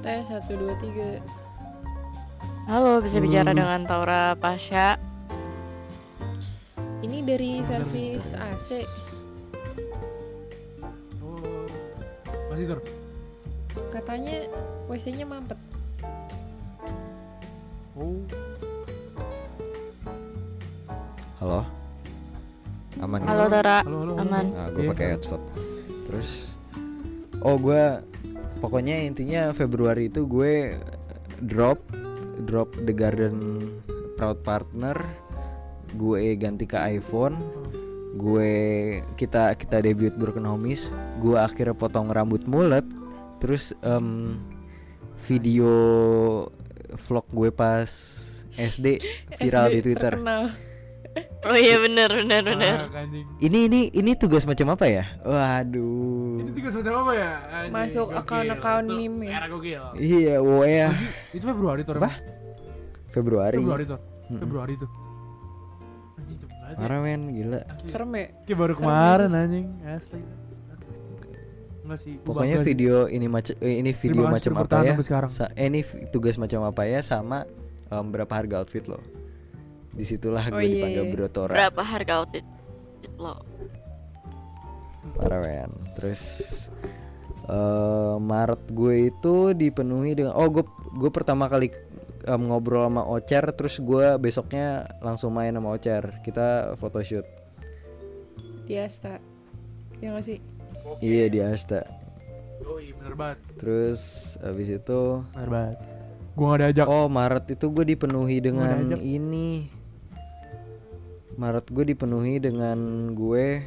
Tes satu dua tiga.
Halo, bisa bicara
Hmm.
dengan Taura Pasha.
Ini dari
Service.
servis AC.
oh. masih tur
Katanya WC-nya mampet.
oh
Halo? Aman
Halo Taura.
halo halo, halo.
Aman.
Nah, gue
Iya.
pakai headset. Terus oh gue pokoknya intinya Februari itu gue drop drop The Garden Proud Partner. Gue ganti ke iPhone. Gue kita kita debut Broken Homies. Gue akhirnya potong rambut mulet. Terus em, video vlog gue pas SD
SD
viral di Twitter.
terkenal.
Oh iya bener bener bener.
Ah, anjing
Ini ini ini tugas macam apa ya? Waduh.
itu tiga semacam apa ya Anjing,
Masuk
gokil.
account-account
Itu
meme ya?
era gokil
Iya, wow ya.
Anjing, itu Februari tur
Apa? Februari.
Februari tur
Mm-mm.
Februari tuh anjing cepet banget ya.
Parah men, gila.
Asli.
Serem ya?
Kayak baru kemarin anjing asli asli enggak sih gua
Pokoknya
bangga sih.
video ini macam ini
Terima kasih
video macam
sudah
apa
bertahan
ya?
sampai sekarang.
Sa- eh, ini vi- tugas macam apa ya sama em, berapa harga outfit lo? Disitulah
Oh,
gue
iya,
dipanggil
iya.
Bro Tora.
Berapa harga outfit outfit lo?
Parah men. Terus eh, Maret gue itu dipenuhi dengan oh gue gue pertama kali em, ngobrol sama Ocer terus gue besoknya langsung main sama Ocer. Kita photoshoot.
Diasta. Ya nggak sih?
Iya di Asta.
Yoi, bener banget
Terus habis itu
bener banget gua gak diajak
Oh Maret itu gue dipenuhi dengan
diajak.
ini Maret gue dipenuhi dengan gue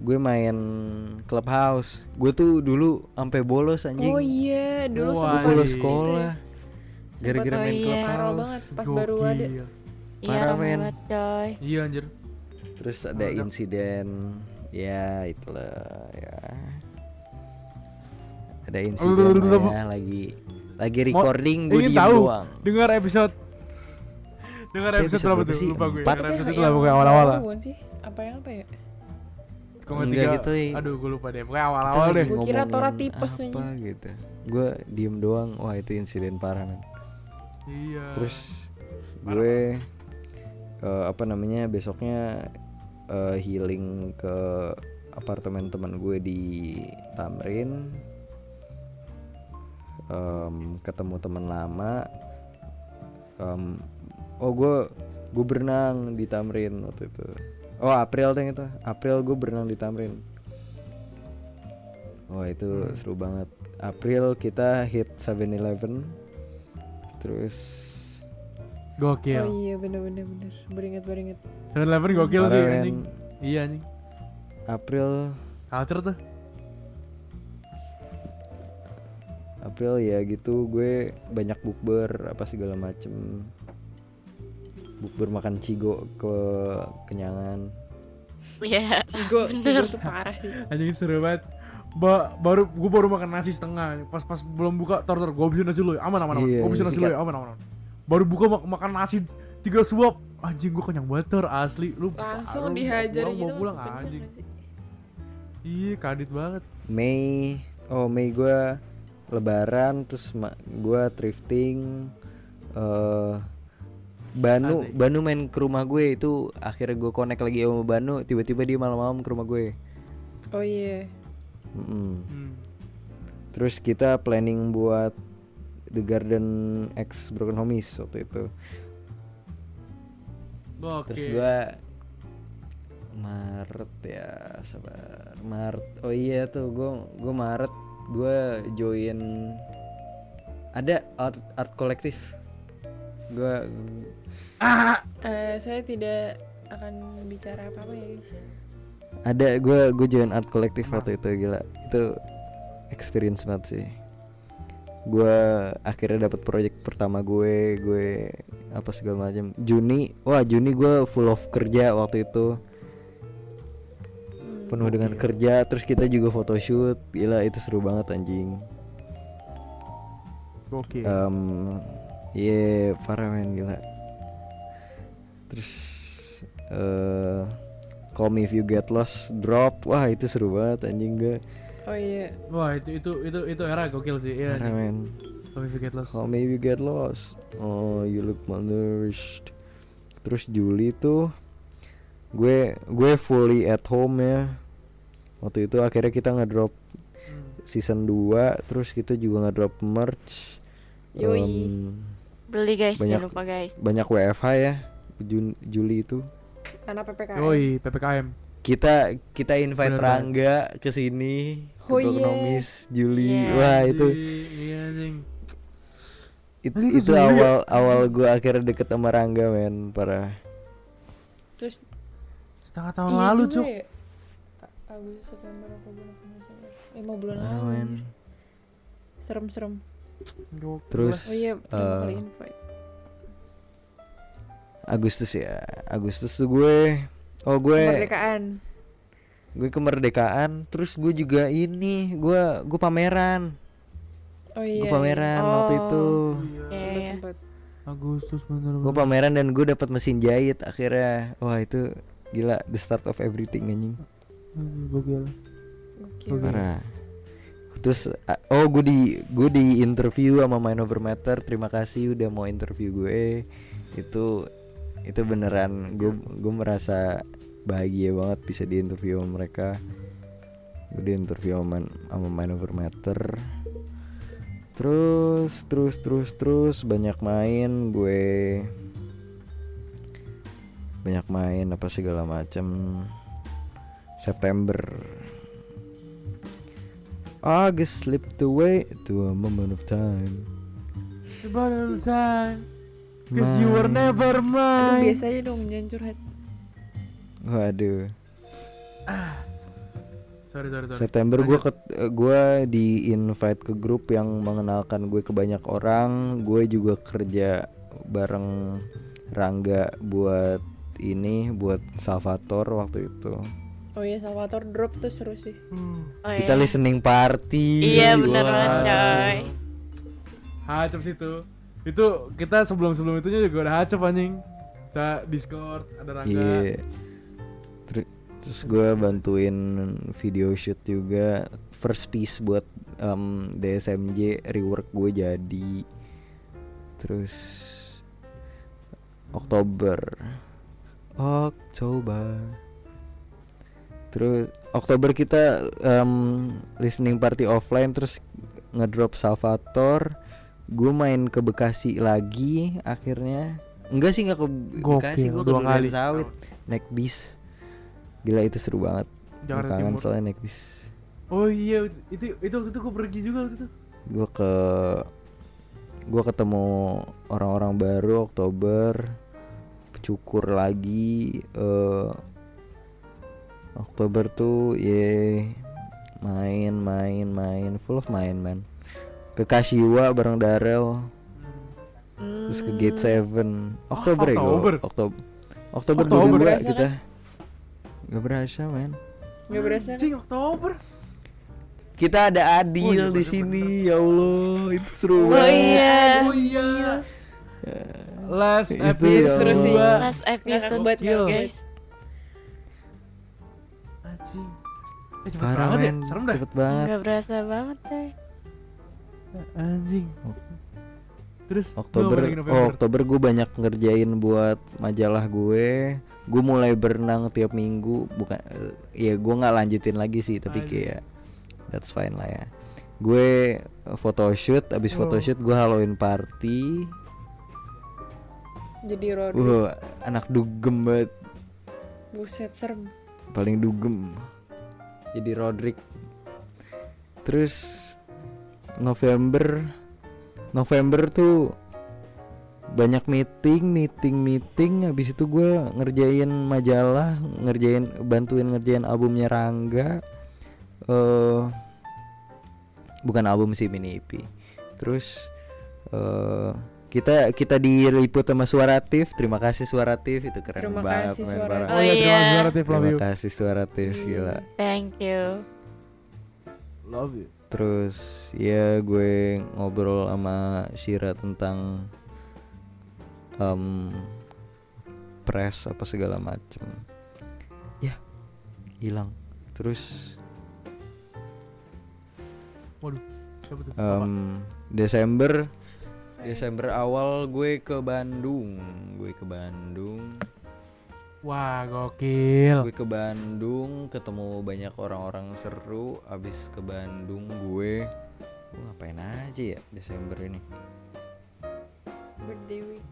Gue main clubhouse Gue tuh dulu sampai bolos
Oh
anjing
iya, dulu
Wah,
sempat
iya.
ada
Bolos
cerita
sekolah
ya.
Gara-gara
Sempat,
main
oh iya.
Parah banget
clubhouse
pas baru ada.
Gokil.
Iya,
Parah,
ramai
men.
banget coy.
iya anjir
Terus ada
Ngajak.
insiden Ya itulah ya Ada insiden
Aduh, aduh, aduh, aduh.
lah ya lagi Lagi
Mau-
recording gue
ingin Eh,
diem
tahu
doang
dengar episode dengar
Itu
episode
episode
berapa
berapa
tuh
sih?
lupa gue
Empat?
dengar
Tapi
episode
yang-
itu lah pokoknya awal-awal lah
yang Bukan sih? Apa yang apa ya?
Kok nggak
Enggak
tiga
gitu, iya.
aduh gue lupa deh pokoknya awal-awal deh
Gua kira Tora
ngomongin
tipes
apa
aja.
gitu gue diem doang wah itu insiden parah men
iya
terus gue eh, apa namanya besoknya eh, healing ke apartemen teman gue di Tamrin Em, ketemu teman lama Em, oh gue gue berenang di Tamrin waktu itu oh April tuh yang itu April gue berenang di Tamrin Wah itu seru banget. April kita hit 7-Eleven. Terus
gokil
Oh iya, bener-bener bener. Beringat beringat.
seven eleven gokil sih
kemarin
anjing iya anjing
April
culture tuh
April ya gitu gue banyak bukber apa segala macem bukber makan cigo ke kenyangan
Iya.
Cigo, Cigo tuh parah sih.
anjing seru banget Ba- baru gue baru makan nasi setengah pas pas belum buka tor tor gue bisa nasi lu aman aman aman
Iya,
gue bisa nasi lu
sikat.
aman aman aman. baru buka mak- makan nasi tiga suap anjing gue kenyang banget Tor, asli lu
Langsung
lu mau
dihajar
pulang,
gitu.
mau pulang
bener
anjing
nggak sih?
iya kadit banget
Mei oh Mei gue lebaran terus ma- gue thrifting eh Banu,
Asik.
Banu main ke rumah gue itu akhirnya gue connect lagi sama Banu, tiba-tiba dia malam-malam ke rumah gue.
oh iya
Mm-mm.
Hmm.
Terus kita planning buat The Garden X Broken Homies waktu itu.
Oke.
Terus gue Maret ya, sabar. Maret. Oh iya tuh gue gue Maret gue join ada art art kolektif. Gue
Eh, saya tidak akan bicara apa apa ya guys
ada gue gue join art kolektif waktu itu gila. Itu experience banget sih. Gue akhirnya dapat project pertama gue, gue apa segala macam. Juni, wah Juni gue full of kerja waktu itu.
Hmm.
penuh dengan kerja terus kita juga photoshoot gila itu seru banget anjing
Oke.
um, ye iya, parah men gila terus eh call me if you get lost drop wah itu seru banget anjing gue
oh iya
Wah, itu itu itu itu era gokil sih. Iya.
parah
nih.
men
Tommy Forgetless.
call me if you get lost oh you look malnourished terus Juli tuh gue gue fully at home ya waktu itu akhirnya kita ngedrop
Hmm.
season 2 terus kita juga ngedrop merch
Yoi.
Beli guys,
Banyak.
jangan lupa guys.
banyak WFH ya Jun- Juli itu
karena ppkm
Yoi, PPKM.
kita kita invite
Bener
Rangga ke sini ke
Oh, iya.
Gognomis, Juli
Iya.
wah itu
Anjing, Iya, anjing.
it-
Itu
itu
Juli ya?
awal awal gue akhirnya deket sama Rangga men parah
terus
Setengah tahun
iya
lalu,
juga
Cuk.
ya. A- Agustus September Oktober November Desember. lima bulan
Parah,
lalu
Ah, men.
anjir. serem-serem
Gokil
terus
oh iya belum
eh,
kali invite
Agustus ya Agustus tuh gue oh gue
kemerdekaan
gue kemerdekaan terus gue juga ini gue gue pameran
oh iya
gue pameran
iya.
waktu itu
lah. Iya.
Iya,
Sempet,
iya.
sempet.
Agustus bener
gue
bener.
pameran dan gue dapat mesin jahit akhirnya wah itu gila the start of everything anjing
Hmm, Gokil.
Gokil.
Oke.
parah terus a- oh gue di gue di interview sama Mind Over Matter terima kasih udah mau interview gue itu itu beneran gue gue merasa bahagia banget bisa di interview sama mereka gue di interview sama, Man- sama Mind Over Matter terus terus terus terus banyak main gue banyak main apa segala macam September August slipped away to a moment of time
The bottle time. Cause you were
Mine.
never
Aduh,
mine.
biasa aja dong jangan curhat
waduh
Sorry, sorry, sorry.
September gue
Lanjut.
gue di invite ke grup yang mengenalkan gue ke banyak orang gue juga kerja bareng Rangga buat ini buat Salvator waktu itu
oh iya Salvatore drop tuh seru sih
Hmm.
Oh,
kita
iya.
listening party
Iya, bener
wah.
banget, coy.
Hacep situ. Itu kita sebelum-sebelum itunya juga udah hacep anjing. Kita Discord ada Rangga.
Iya. Ter- Terus gue bantuin video shoot juga first piece buat em, DSMJ rework gue jadi. Terus Oktober. Oktober. Terus Oktober kita em, listening party offline terus ngedrop Salvator. Gue main ke Bekasi lagi akhirnya. Enggak sih enggak ke Bekasi, gue ke
dua kali.
Sawit naik bis gila itu seru banget
Jakarta
Gue kangen
Timur.
soalnya naik bis
Oh iya, itu itu waktu itu gue pergi juga waktu itu.
gue ke gue ketemu orang-orang baru Oktober cukur lagi eh Oktober tuh ye main main main full of main man ke Kashiwa bareng Darel terus ke Gate 7 Oktober ya
Hmm. Oh, Oktober.
Oktober Oktober Oktober,
Oktober. ya
Berasa
22 kita nggak berasa men
nggak berasa kan?
Cing Oktober.
Kita ada
Oh iya,
Adil di
bener-bener.
sini, ya Allah, itu seru
Oh
banget.
iya.
Eh,
Oh iya. Last
Itu
episode
ya
Seru sih.
kedua.
Last episode
Gokil.
guys.
Anjing. Eh cepet
Parah,
banget ya,
men.
serem dah
Iya.
Cepet banget.
Gak berasa banget deh.
Anjing Terus
Oktober,
dua lagi
oh
November.
Oktober gue banyak ngerjain buat majalah gue. Gue mulai berenang tiap minggu, bukan eh, ya gue nggak lanjutin lagi sih, tapi
Anjing.
kayak that's fine lah ya. Gue eh, photoshoot, abis
Wow.
photoshoot gue Halloween party.
jadi road
Wah, anak dugem banget,
buset serem
paling dugem. Jadi Rodrik. Terus November November tuh banyak meeting, meeting, meeting. Habis itu gue ngerjain majalah, ngerjain, bantuin ngerjain albumnya Rangga. eh bukan album sih mini EP. Terus eh kita kita diliput sama Suaratif. Terima kasih Suaratif itu keren
Terima
banget.
kasih
men,
Suaratif.
parah.
Oh iya, terima kasih
iya.
suara Tiff, love you.
Terima kasih Suaratif gila.
Thank you.
Love you.
Terus ya gue ngobrol sama Shira tentang em press apa segala macem. Ya hilang. Terus
Waduh. Siapa tuh? Apa?
em, Desember Desember awal gue ke Bandung. Gue ke Bandung.
Wah, gokil.
Gue ke Bandung ketemu banyak orang-orang seru. Abis ke Bandung gue gue ngapain aja ya Desember ini?
birthday week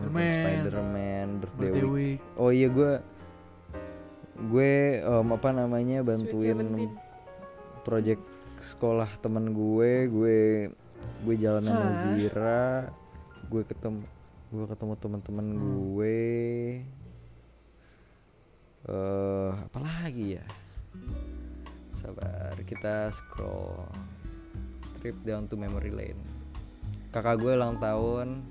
Nonton
Spider-Man.
Spider-Man, birthday,
Birthday
Week.
week.
Oh iya gue gue em, apa namanya bantuin
Sweet 17.
project sekolah temen gue, gue gue jalan sama
Hah?
Zira, gue ketemu gue ketemu teman-teman gue. Eh, apa lagi ya? Sabar, kita scroll trip down to memory lane. Kakak gue ulang tahun.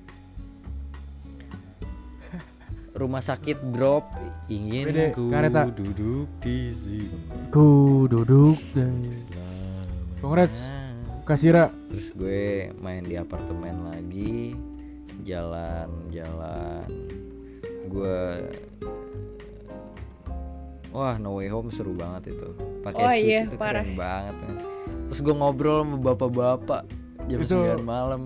Rumah sakit drop ingin
Wede,
ku
Kareta.
duduk di sini.
Ku duduk dan Congrats.
Nah.
Kasira.
Terus gue main di apartemen lagi, jalan-jalan. Gue Wah, No Way Home seru banget itu. Pakai
Oh
suit
iya,
itu
parah.
keren banget. men. Terus gue ngobrol sama bapak-bapak jam
Itu
9 malam.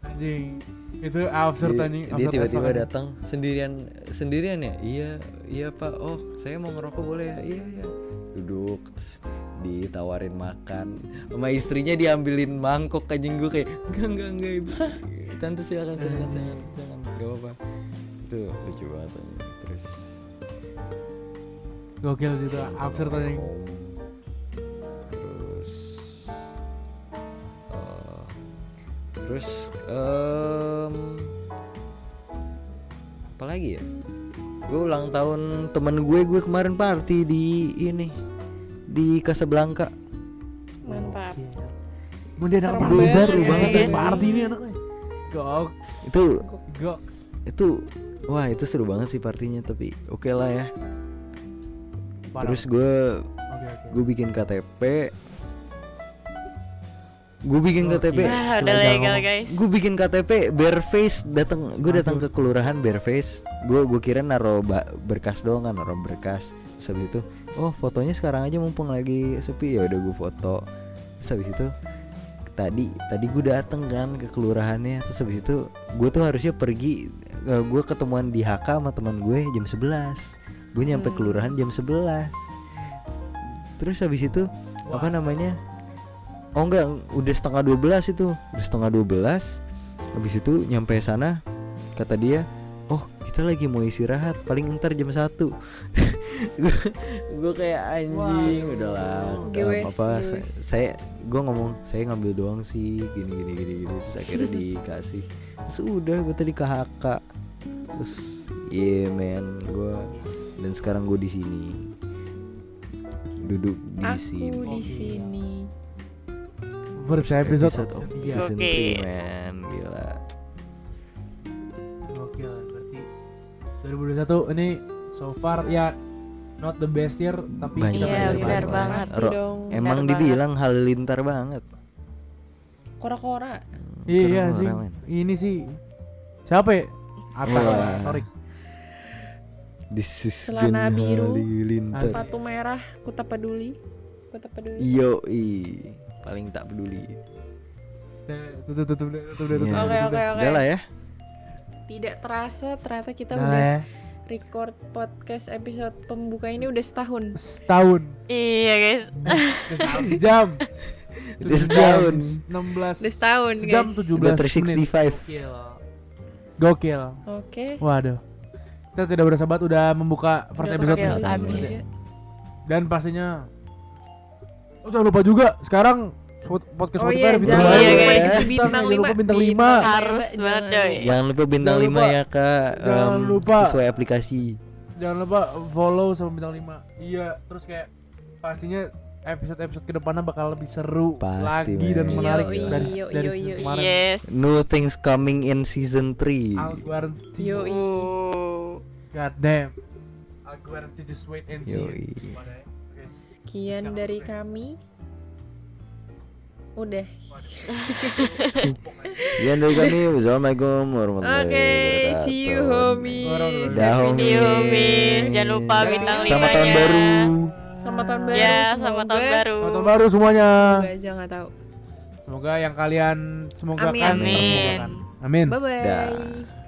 Anjing. Itu absurd
Dia-
anjing.
dia
absurd as
tiba-tiba
fuck.
datang sendirian sendirian ya iya iya pak oh saya mau ngerokok boleh ya iya iya duduk terus ditawarin makan sama istrinya diambilin mangkok anjing gue kayak enggak enggak enggak ibu tante silakan silakan silakan jangan gak apa, -apa. itu lucu banget anjing. terus
Gokil sih itu absurd anjing.
om terus eh, terus em, apa lagi ya gue ulang tahun temen gue gue kemarin party di ini di Casablanca
mantap
Mau dia
Serem
anak party
banget,
seru banget
anjing.
ya. Party ini anaknya. Goks.
itu
goks.
itu wah itu seru banget sih partinya tapi oke lah ya
Parah.
terus gue
Oke, oke.
gue bikin KTP gue bikin
Oke.
KTP
Wah, udah
Selalu
legal
ngomong.
guys.
gue bikin KTP bareface datang gue datang
Mantul.
ke kelurahan bareface gue gue kira naro ba- berkas doang kan naro berkas Terus habis itu oh fotonya sekarang aja mumpung lagi sepi ya udah gue foto Terus habis itu tadi tadi gue dateng kan ke kelurahannya terus habis itu gue tuh harusnya pergi eh, gue ketemuan di HK sama teman gue jam 11 gue nyampe kelurahan jam 11 terus habis itu apa namanya Oh enggak, udah setengah 12 itu. Udah setengah 12. Habis itu nyampe sana kata dia, "Oh, kita lagi mau istirahat, paling ntar jam 1." gue kayak anjing udahlah udah
Gewes,
apa saya,
gewes.
saya gue ngomong saya ngambil doang sih gini gini gini gini terus akhirnya dikasih terus udah gue tadi ke HK terus yeah man gue dan sekarang gue di sini duduk di sini
aku di sini
First episode.
of
Iya.
season
Oke.
three, man gila
Gokil, berarti 2021 ini so far ya not the best year tapi
Banyak
kita
Iya,
belajar
benar
banyak.
banget.
pasti
Ro-
dong
emang
banget.
dibilang halilintar banget
kora-kora
Iya
Keren,
anjing.
keren.
Ini sih siapa ya? Atta,
Wah.
Torik.
this is
Celana
gen
biru.
halilintar
Asli.
sepatu merah ku
Iya.
tak peduli ku tak peduli
yo paling tak peduli
tutup tutup deh, tutup deh, tutup
Iya.
Oke,
deh, tutup
oke,
deh.
oke.
Udah lah ya.
Tidak terasa ternyata
Nah,
kita
Udah lah
udah
eh.
ya.
record podcast episode pembuka ini udah setahun.
Setahun.
Iya guys,
Udah setahun, Sejam.
Udah setahun.
16.
Udah setahun,
Sejam
guys.
17
Udah
menit.
365.
Gokil. Gokil.
Oke.
Waduh. Kita tidak berasa banget udah membuka first
Udah
episode
pakai
nih.
Setahun.
habis.
Iya.
Dan pastinya Oh, jangan lupa juga sekarang spot- podcast
Oh
Spotify
iya,
ada fitur
jangan
baru.
Iya,
lupa
guys.
dikasih
Bintang,
bintang
jangan lupa
lima. Iya,
bintang lima.
Harus
lima,
banget
jangan.
doi.
Jangan lupa bintang
Jangan
5
lupa.
ya Kak.
Jangan
Em,
lupa.
Sesuai aplikasi.
Jangan lupa follow sama bintang 5. Iya, terus kayak pastinya episode-episode kedepannya bakal lebih seru
Pasti,
lagi
men.
dan menarik
Yoi,
dari
yoi,
dari
yoi,
season
yoi.
kemarin.
Yes.
New things coming in season 3.
Alquerti.
Yoi.
Uh.
God damn. Alquerti just wait and see.
Yoi.
Wadah, oke.
Sekian
Silakan,
dari
Bang.
kami. Udah.
Sekian dari kami. Wassalamualaikum warahmatullahi
Oke,
wabarakatuh.
see you homies. Iya.
Dah,
Happy
homies.
New Year.
Iya, Jangan lupa bintang
Selamat
Selamat
limanya.
tahun baru.
Selamat tahun baru.
Ya, selamat tahun
semoga-
baru.
Selamat tahun baru semuanya.
Semoga aja nggak tahu.
Semoga yang kalian semoga
Amin.
kan
Amin.
tersemogakan. Amin.
Bye bye.
Dah.